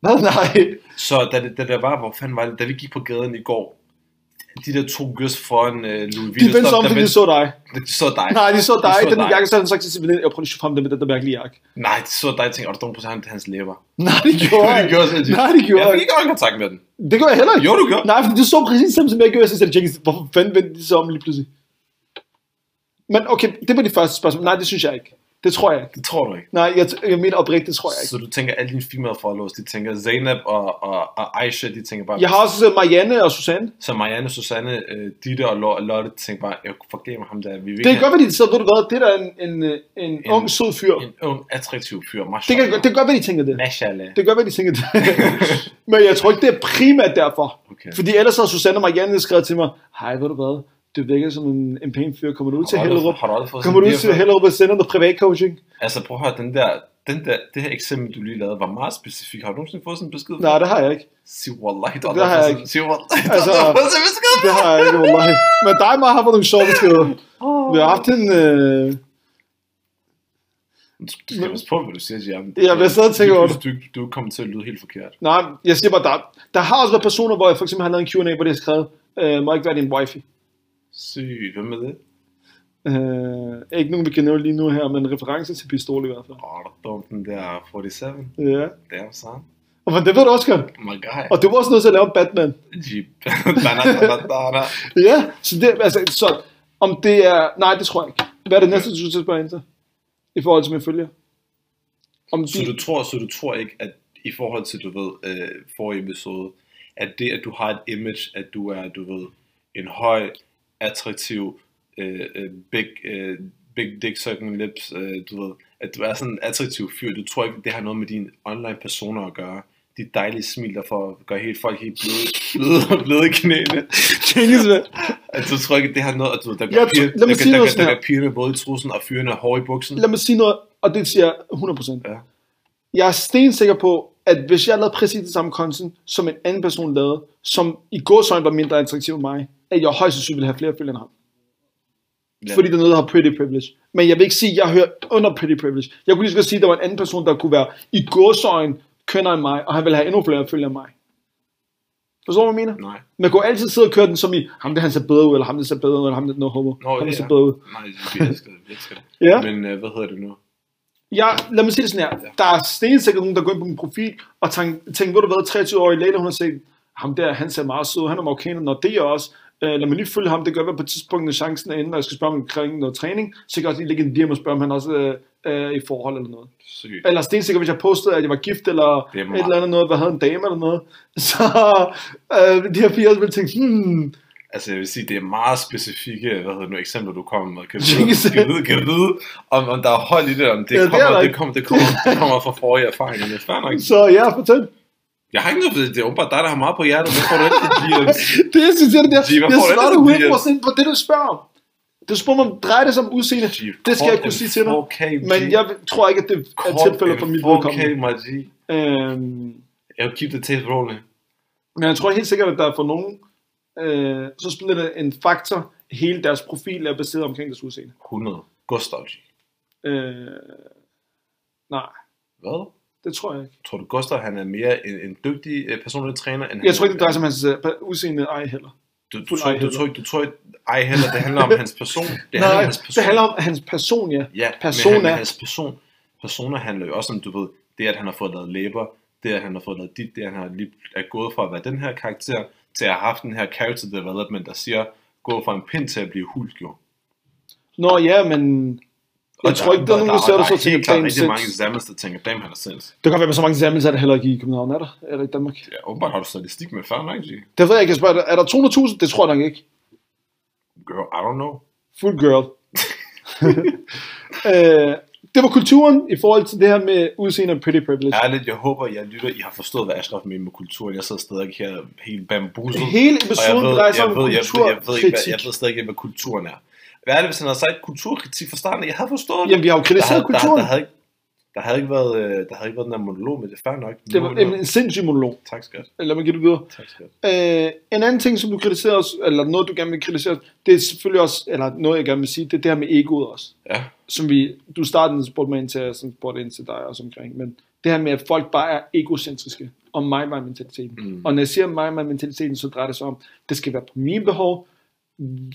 S1: Hvad? Nej.
S2: Så da, det, da der var, hvor fanden var det, da vi gik på gaden i går, de der to gøs foran uh, Louis
S1: De
S2: Vuitton,
S1: vendte sig om, fordi
S2: der
S1: de
S2: vendte-
S1: så dig.
S2: de så dig.
S1: Nej, de så dig.
S2: De så
S1: Den der
S2: dig.
S1: jakke, så havde han sagt til sin veninde, jeg prøver lige at shoppe frem det med den der mærkelige jakke.
S2: Nej, de så dig og tænkte, er der nogen på hans, hans læber?
S1: Nej, det gjorde jeg.
S2: det gjorde jeg sindssygt.
S1: Nej, det gjorde
S2: Jeg
S1: jeg.
S2: fik ikke øjenkontakt med den.
S1: ikke. Det gjorde jeg heller ikke.
S2: Jo, du gjorde.
S1: Nej, fordi det så præcis samme, som jeg gjorde. Jeg synes, at Jenkins, hvorfor fanden vendte de sig om lige pludselig? Men okay, det var de første spørgsmål. Nej, det synes jeg ikke. Det tror jeg ikke.
S2: Det tror du ikke.
S1: Nej, jeg, jeg mener oprigtigt, det tror jeg ikke.
S2: Så du tænker, alle dine female followers, de tænker Zainab og, og, og Aisha, de tænker bare...
S1: Jeg har også set Marianne og Susanne.
S2: Så Marianne, Susanne, øh, Ditte og Lo- Lotte tænkte bare, jeg kunne forgame ham der. Vi vil
S1: Det
S2: ikke
S1: kan godt være, de sidder, ved du hvad, det er da en, en, øh, en, en
S2: En-
S1: ung, sød fyr.
S2: have en ung, attraktiv fyr.
S1: Det kan, det kan godt være, de tænker det.
S2: Mashallah.
S1: Det kan godt være, de tænker det. Men jeg tror ikke, det er primært derfor.
S2: Okay.
S1: Fordi ellers har Susanne og Marianne skrevet til mig, hej, ved du hvad, det virker som en, en pæn fyr. Kommer du ud til
S2: Har du aldrig-
S1: Hellerup?
S2: Har du aldrig fået
S1: Kommer du
S2: sådan
S1: ud
S2: en
S1: til
S2: idé
S1: Hellerup og sender dig privatcoaching?
S2: for- Altså prøv at høre, den der, den der, det her eksempel, du lige lavede, var meget specifikt. Har du nogensinde fået sådan en besked?
S1: Nej, det har jeg ikke.
S2: Sig wallahi, du har
S1: Det har jeg
S2: aldrig fået sådan- Sig wallahi, du har
S1: Altså-
S2: aldrig fået sådan en besked.
S1: Det har jeg ikke, wallahi. Men dig og mig har fået nogle sjove beskeder. Vi har haft en... Øh...
S2: Du skal passe på, hvad du siger, Jam.
S1: Ja, men jeg sad og tænker over det.
S2: Du, du kommer til at lyde helt forkert.
S1: Nej, jeg siger bare, der, der har også været personer, hvor jeg for eksempel har lavet en Q&A, hvor det har skrevet, øh, må ikke være din wifi.
S2: Sygt, hvem er det?
S1: Øh, ikke nogen, vi kan nævne lige nu her, men en reference til pistol i hvert fald.
S2: Åh, der dum den der 47.
S1: Ja.
S2: Damn son.
S1: Og men det ved du også godt.
S2: Oh my god.
S1: Og det var også noget til at lave en Batman.
S2: Jeep. da, da, da, da, da.
S1: Ja, så det, altså, så om det er... Nej, det tror jeg ikke. Hvad er det næste, du skal spørge ind til? I forhold til mine følger? Om
S2: Så du tror, så du tror ikke, at i forhold til, du ved, øh, forrige episode, at det, at du har et image, at du er, du ved, en høj, attraktiv, øh, øh, big, øh, big dick sucking lips, øh, du ved, at du er sådan en attraktiv fyr, du tror ikke, det har noget med dine online personer at gøre. De dejlige smil, der får, gør helt folk helt bløde, bløde, bløde i knæene.
S1: tænkes med.
S2: At du tror ikke, det har noget, at du, der
S1: Jeg
S2: gør
S1: tr-
S2: piger,
S1: lad mig
S2: der, gør-
S1: sige
S2: der,
S1: noget
S2: gør-
S1: sådan
S2: der
S1: her.
S2: gør pigerne både i trussen, og fyrene er hårde i buksen.
S1: Lad mig sige noget, og det siger jeg 100%.
S2: Ja.
S1: Jeg er stensikker på, at hvis jeg lavede præcis det samme content, som en anden person lavede, som i gåsøjne var mindre attraktiv end mig, at jeg højst sandsynligt ville have flere følgere end ham.
S2: Ja.
S1: Fordi der er noget, der har pretty privilege. Men jeg vil ikke sige, at jeg hører under pretty privilege. Jeg kunne lige så godt sige, at der var en anden person, der kunne være i gåsøjne kønner end mig, og han ville have endnu flere følgere end mig. Forstår du, hvad jeg mener?
S2: Nej.
S1: Man kunne altid sidde og køre den som i, ham det han ser bedre ud, eller ham det ser bedre ud, eller ham det no homo.
S2: Nå,
S1: ham
S2: ja,
S1: det ser
S2: ja.
S1: bedre ud.
S2: Nej, vi elsker det. Vi elsker det.
S1: Ja.
S2: Men øh, hvad hedder det nu?
S1: Jeg, lad mig sige det sådan her. Der er stensikkert nogen, der går ind på min profil og tænker, tænker ved du hvad, 23 år i later, hun har set, ham der, han ser meget sød, ud, han er marokkaner, når det er jeg også. Øh, lad mig lige følge ham, det gør, hvad på et tidspunkt, når chancen er inde, og jeg skal spørge ham omkring noget træning, så kan jeg også lige lægge en DM og spørge, om han også øh, øh, i forhold eller noget.
S2: Sygt.
S1: Eller stensikkert, hvis jeg postede, at jeg var gift, eller
S2: Det er
S1: et
S2: meget.
S1: eller andet noget, hvad havde en dame eller noget, så øh, de her piger også ville tænke, hmm,
S2: Altså jeg vil sige, det er meget specifikke, hvad hedder det nu, eksempler du kommer med. Kan vi
S1: Jenkins.
S2: vide, kan vi vide, kan vi vide om, om der er hold i det, om det,
S1: Ja, det er
S2: kommer,
S1: der
S2: det,
S1: ikke.
S2: kommer, det, kommer, det kommer fra forrige erfaringer. Det er fair nok.
S1: så ja, fortæl.
S2: Jeg har ikke noget, det er åbenbart dig, der har meget på hjertet. Hvad får du ikke til DM's?
S1: Det er sindssygt, det der.
S2: Jim, hvad
S1: Jeg
S2: får du
S1: svarer
S2: ellers,
S1: 100% på det, du spørger om. Du spørger mig, om drejer det sig om udseende?
S2: Jim,
S1: Det skal jeg ikke
S2: kort
S1: kunne sige til dig.
S2: and 4K,
S1: Men
S2: Jim.
S1: jeg tror ikke, at det er tilfældet for mit
S2: Okay,
S1: vedkommende.
S2: my G.
S1: Øhm,
S2: Jeg vil keep the tape rolling.
S1: men jeg tror helt sikkert, at der er for nogen, øh, så spiller det en faktor, hele deres profil er baseret omkring deres udseende.
S2: 100. Gustav G.
S1: Øh, nej,
S2: Hvad?
S1: det tror jeg ikke.
S2: Tror du, Gustav han er mere en, en dygtig øh, personlig træner, end
S1: Jeg
S2: han
S1: tror ikke, det drejer sig om hans øh, udseende ej heller.
S2: Du, du,
S1: Fuld
S2: tror,
S1: ej
S2: du,
S1: heller.
S2: tror, ikke- du tror ikke, ej heller, det handler om hans person. Det handler om
S1: Nej,
S2: hans person.
S1: det handler om hans person, ja.
S2: ja, persona. Men,
S1: persona.
S2: han, men hans person, persona handler jo også om, du ved, det at han har fået lavet læber, det at han har fået lavet dit, det at han har lige er gået fra at være den her karakter, til at have haft den her character development, der siger, gå fra en pind til at blive hulk, jo.
S1: Nå ja, men jeg tror ikke, der er nogen, der sætter sig til
S2: helt
S1: at
S2: klart
S1: plan
S2: rigtig mange
S1: 6.
S2: examens, der tænker, damn, han er sinds.
S1: Det kan godt være, at så mange eksamens er der heller ikke i København, er der? Eller i Danmark?
S2: Ja, åbenbart har du statistik med før, ikke? G?
S1: Det ved jeg ikke, jeg spørger, dig. er der 200.000? Det tror jeg nok ikke.
S2: Girl, I don't know.
S1: Full girl. øh, det var kulturen i forhold til det her med udseende og pretty privilege. Ja.
S2: Ærligt, jeg håber, jeg lytter, I har forstået, hvad Ashraf mener med kulturen. Jeg sidder stadig her helt bambuset.
S1: Hele
S2: Og jeg
S1: episoden
S2: ved,
S1: drejer sig
S2: jeg,
S1: om
S2: ved, jeg, ved, jeg, ved ikke, hvad,
S1: kulturkritik.
S2: jeg ved stadig ikke, hvad kulturen er. Hvad er det, hvis han havde sagt kulturkritik fra starten? Jeg havde forstået det.
S1: Jamen, vi har jo
S2: der,
S1: kritiseret
S2: havde- der, der,
S1: kulturen.
S2: der, havde ikke, der havde ikke været, øh, der havde ikke været den der monolog, men det er fair nok.
S1: Det
S2: Nu-
S1: var
S2: nu-
S1: en, en sindssyg monolog.
S2: Tak skat.
S1: Lad mig give det videre.
S2: Tak skat.
S1: Øh, en anden ting, som du kritiserer os, eller noget, du gerne vil kritisere os, det er selvfølgelig også, eller noget, jeg gerne vil sige, det er det her med egoet også.
S2: Ja,
S1: Som vi, du startede spurgte mig ind til, og som spurgte ind til dig også omkring, men det her med, at folk bare er egocentriske, og mig mig mentaliteten.
S2: Mm.
S1: Mm. Og når jeg siger mig mig mentaliteten, så drejer det sig om, det skal være på mine behov,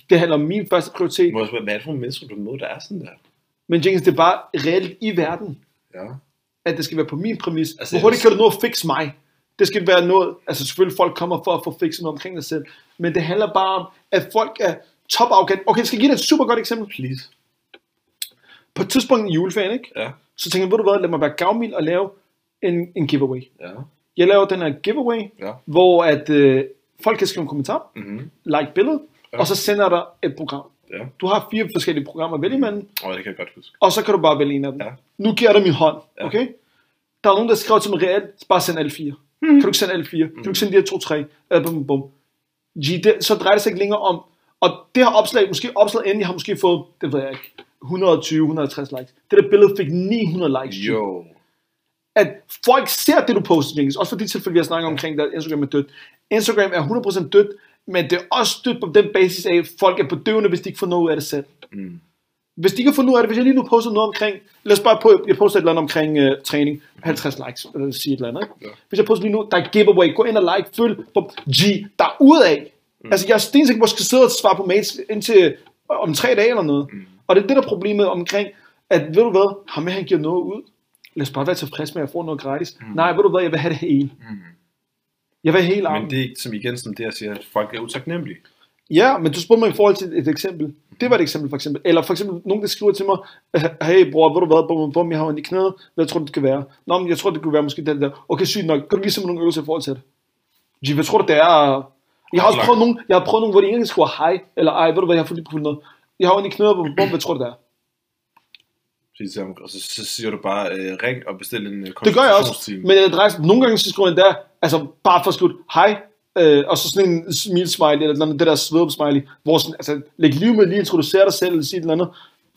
S1: det handler om min første prioritet,
S2: må jeg spørge, hvad er det for nogle mennesker, du møder, der er sådan der?
S1: men Jenkins, det er bare reelt i verden,
S2: Ja.
S1: at det skal være på min præmis.
S2: Altså,
S1: Altså, Hvor hurtigt
S2: jeg-
S1: kan du nå at fikse mig? Det skal være noget, altså selvfølgelig folk kommer for at få fikset noget omkring dig selv, men det handler bare om, at folk er top Okay, jeg skal give dig et super godt eksempel.
S2: Please.
S1: På et tidspunkt i juleferien, ikke?
S2: Ja.
S1: Så tænker jeg, ved du hvad, lad mig være gavmild og lave en, en giveaway.
S2: Ja.
S1: Jeg laver den her giveaway,
S2: Ja.
S1: hvor at øh, folk kan skrive en kommentar,
S2: Mm-hmm.
S1: like billedet,
S2: Ja.
S1: og så sender jeg dig et program.
S2: Ja.
S1: Du har fire forskellige programmer at vælge imellem,
S2: Åh, det kan jeg godt huske.
S1: og så kan du bare vælge en af dem.
S2: Mhm. Ja.
S1: Nu giver jeg dig min hånd,
S2: Ja.
S1: okay? Der er nogen, der skrev til mig reelt, bare send alle fire.
S2: Mhm.
S1: Mm. Kan du ikke sende alle fire? Kan du ikke sende de her to, tre? Eller bum, bum, bum. G, det, så drejer det sig ikke længere om, Og det her opslag, måske opslaget endelig, har måske fået, det ved jeg ikke, 120-150 likes. Det der billede fik 900 likes.
S2: Jo.
S1: At folk ser det, du poster, Jenkins. Også for de tilfælde, vi har snakket omkring, at Instagram er dødt. Instagram er 100% dødt, men det er også dødt på den basis af, at folk er bedøvende, hvis de ikke får noget ud af det selv.
S2: Mm.
S1: Hvis de ikke får noget af det, hvis jeg lige nu poster noget omkring, lad os bare på, jeg poster et eller andet omkring øh, træning, 50 likes, eller sige et eller andet. Ikke?
S2: Ja.
S1: Hvis jeg poster lige nu, der er giveaway, gå ind og like, følg på G, der er udad. Mm. Altså jeg er stensikker på, at jeg skal sidde og svare på mails indtil øh, om tre dage eller noget. Mm. Og det er det der er problemet omkring, at ved du hvad, ham her, han giver noget ud. Lad os bare være tilfreds med, at jeg får noget gratis. Mm. Nej, ved du hvad, jeg vil have det hele. Mm. Jeg vil have hele armen.
S2: Men det er ikke, som igen, som det jeg siger, at folk er utaknemmelige.
S1: Ja, men du spurgte mig i forhold til et eksempel. Det var et eksempel for eksempel. Eller for eksempel nogen, der skriver til mig, hey bror, ved du hvad, bum, bum, bum, jeg har ondt i knæet, hvad tror du, det kan være? Nå, men jeg tror, det kunne være måske den der. Okay, sygt nok, kan du vise mig nogle øvelser i forhold til det? Gee, hvad tror du, det er? Jeg har også
S2: Oplagt.
S1: prøvet nogle, jeg har prøvet nogle, hvor de ikke engang skriver hej, eller ej, ved du hvad, jeg har fået lige på noget. Jeg har ondt i knæet, bum, bum, hvad tror du, det er?
S2: Så siger jeg, Og så, så siger du bare, øh, ring og bestil en øh,
S1: Det gør jeg også,
S2: konsultationstime.
S1: men adressen, nogle gange så skriver jeg der, altså bare for at skrive, hej, øh, og så sådan en smil smiley, eller et eller andet, det der sved smiley, hvor sådan, altså, læg liv med lige introducere dig selv, eller sige et eller andet.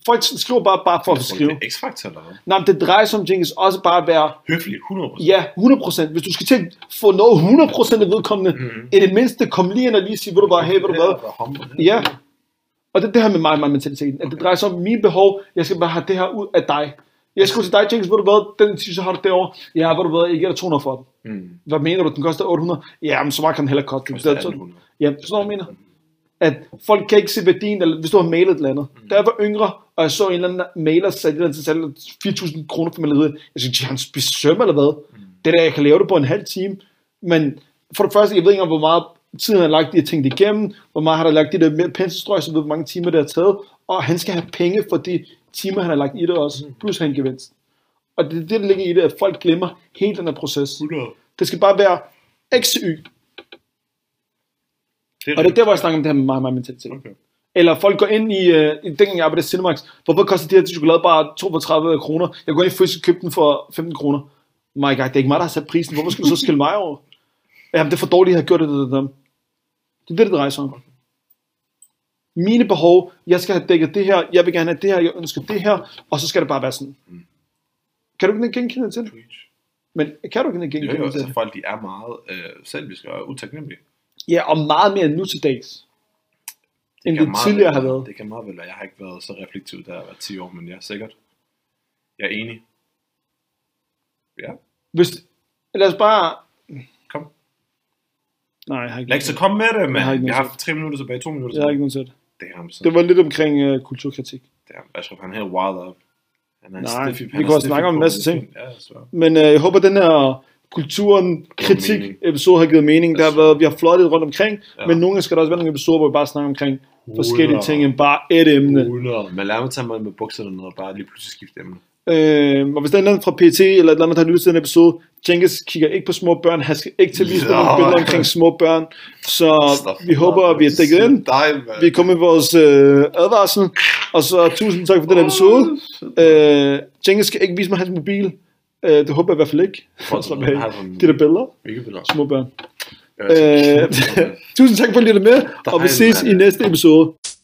S1: Folk skriver bare, bare for at
S2: Tror du,
S1: skrive.
S2: det er X-faktor eller hvad?
S1: Nej, men det drejer sig om Jenkins også bare at være,
S2: Høfligt, 100%.
S1: ja, 100%. Hvis du skal til at få noget 100% af vedkommende,
S2: Mhm.
S1: mm-hmm. i det mindste, kom lige ind og lige sige, ved du hvad, hey, ved du hvad, Mm-hmm. Ja. Og det er det her med mig, mig mentaliteten. At det drejer sig om mine behov. Jeg skal bare have det her ud af dig. Jeg skriver til dig, Jenkins, ved du hvad, den t-shirt har du derovre. Ja, ved du hvad, jeg giver dig 200 for den.
S2: Mm.
S1: Hvad mener du, den koster 800? Ja, men så meget kan den heller koste. Det
S2: Koster
S1: er sådan,
S2: 1800.
S1: ja, sådan noget, jeg mener. At folk kan ikke se værdien, eller hvis du har malet et eller andet. Mm. Da jeg var yngre, og jeg så en eller anden maler sat et eller andet til salg, 4.000 kroner for maleriet. Jeg synes, han spiser søm eller hvad? Mm. Det der, jeg kan lave det på en halv time. Men for det første, jeg ved ikke engang, hvor meget tid han har lagt de her ting igennem, hvor meget har der lagt de der med- penselstrøg, så ved, hvor mange timer det har taget, og han skal have penge for de timer, han har lagt i det også, plus han gevinst. Og det er det, der ligger i det, at folk glemmer hele den her proces.
S2: 100.
S1: Det skal bare være X, Y.
S2: Det er
S1: Og det er
S2: rigtigt.
S1: der, hvor jeg snakker om det her med meget, meget mentalitet.
S2: Okay.
S1: Eller folk går ind i, øh, i dengang jeg arbejdede i Cinemax, hvorfor koster de her chokolade bare 32 kroner? Jeg går ind i Frysk og køber den for 15 kroner. My god, det er ikke mig, der har sat prisen. Hvorfor skal du så skille mig over? Jamen, det er for dårligt, at have gjort det til dem. Det er det, det drejer sig om. Mine behov, jeg skal have dækket det her, jeg vil gerne have det her, jeg ønsker det her, og så skal det bare være sådan. Kan du ikke genkende det til det?
S2: Preach.
S1: Men kan du ikke
S2: Det er
S1: genkende
S2: jo
S1: det til
S2: også,
S1: det?
S2: at folk de er meget øh, selviske og utaknemmelige.
S1: Ja, og meget mere nu til dags, end
S2: kan
S1: det
S2: meget
S1: tidligere
S2: vel
S1: har
S2: være-
S1: været.
S2: Det kan meget vel være. Jeg har ikke været så reflektiv, da jeg var 10 år, men jeg er sikkert. Jeg er enig. Ja,
S1: Hvis, lad os bare...
S2: kom.
S1: Nej, jeg har ikke
S2: Lad ikke så komme med det, mand.
S1: Jeg har ikke
S2: Jeg
S1: noget
S2: har haft 3 minutter tilbage, 2 minutter
S1: Jeg har
S2: tilbage.
S1: ikke nogen sæt.
S2: Det er ham
S1: Det
S2: sådan.
S1: var lidt omkring øh, kulturkritik.
S2: Det er ham. Ashraf, han er helt wild up. Han er en
S1: Nej,
S2: stiffy-
S1: vi
S2: han er
S1: kunne også
S2: stiffy
S1: snakke om en
S2: på
S1: masse
S2: det.
S1: ting.
S2: Ja, jeg svær.
S1: Men øh, jeg håber, den her kulturen kritik
S2: mening.
S1: episode har givet mening. Der har
S2: Altså-
S1: været, vi har fløjtet rundt omkring, ja.
S2: Ja.
S1: men nogle gange skal der også være nogle episoder, hvor vi bare snakker omkring forskellige
S2: Hundrede.
S1: ting end bare et emne.
S2: 100. Men lad mig tage mig med bukserne ned og bare lige pludselig skifte emne.
S1: Øh, og hvis der er en eller anden fra PT eller et eller andet, der har lyttet til den episode, Jenkins kigger ikke på små børn, han skal ikke til at vise
S2: Nå.
S1: nogle billeder omkring små børn. Så vi håber, at vi har dækket ind.
S2: Dig, mand.
S1: Vi er kommet med vores øh, advarsel, og så tusind tak for den episode. Øh, Jenkins skal ikke vise mig hans mobil. Øh, det håber jeg i hvert fald ikke.
S2: Prøv at
S1: Slap
S2: tage den.
S1: af.
S2: Har den-
S1: De der billeder,
S2: Hvilke billeder?
S1: små børn.
S2: Ja,
S1: Øh, tusind tak for at lytte med, og vi ses i næste episode.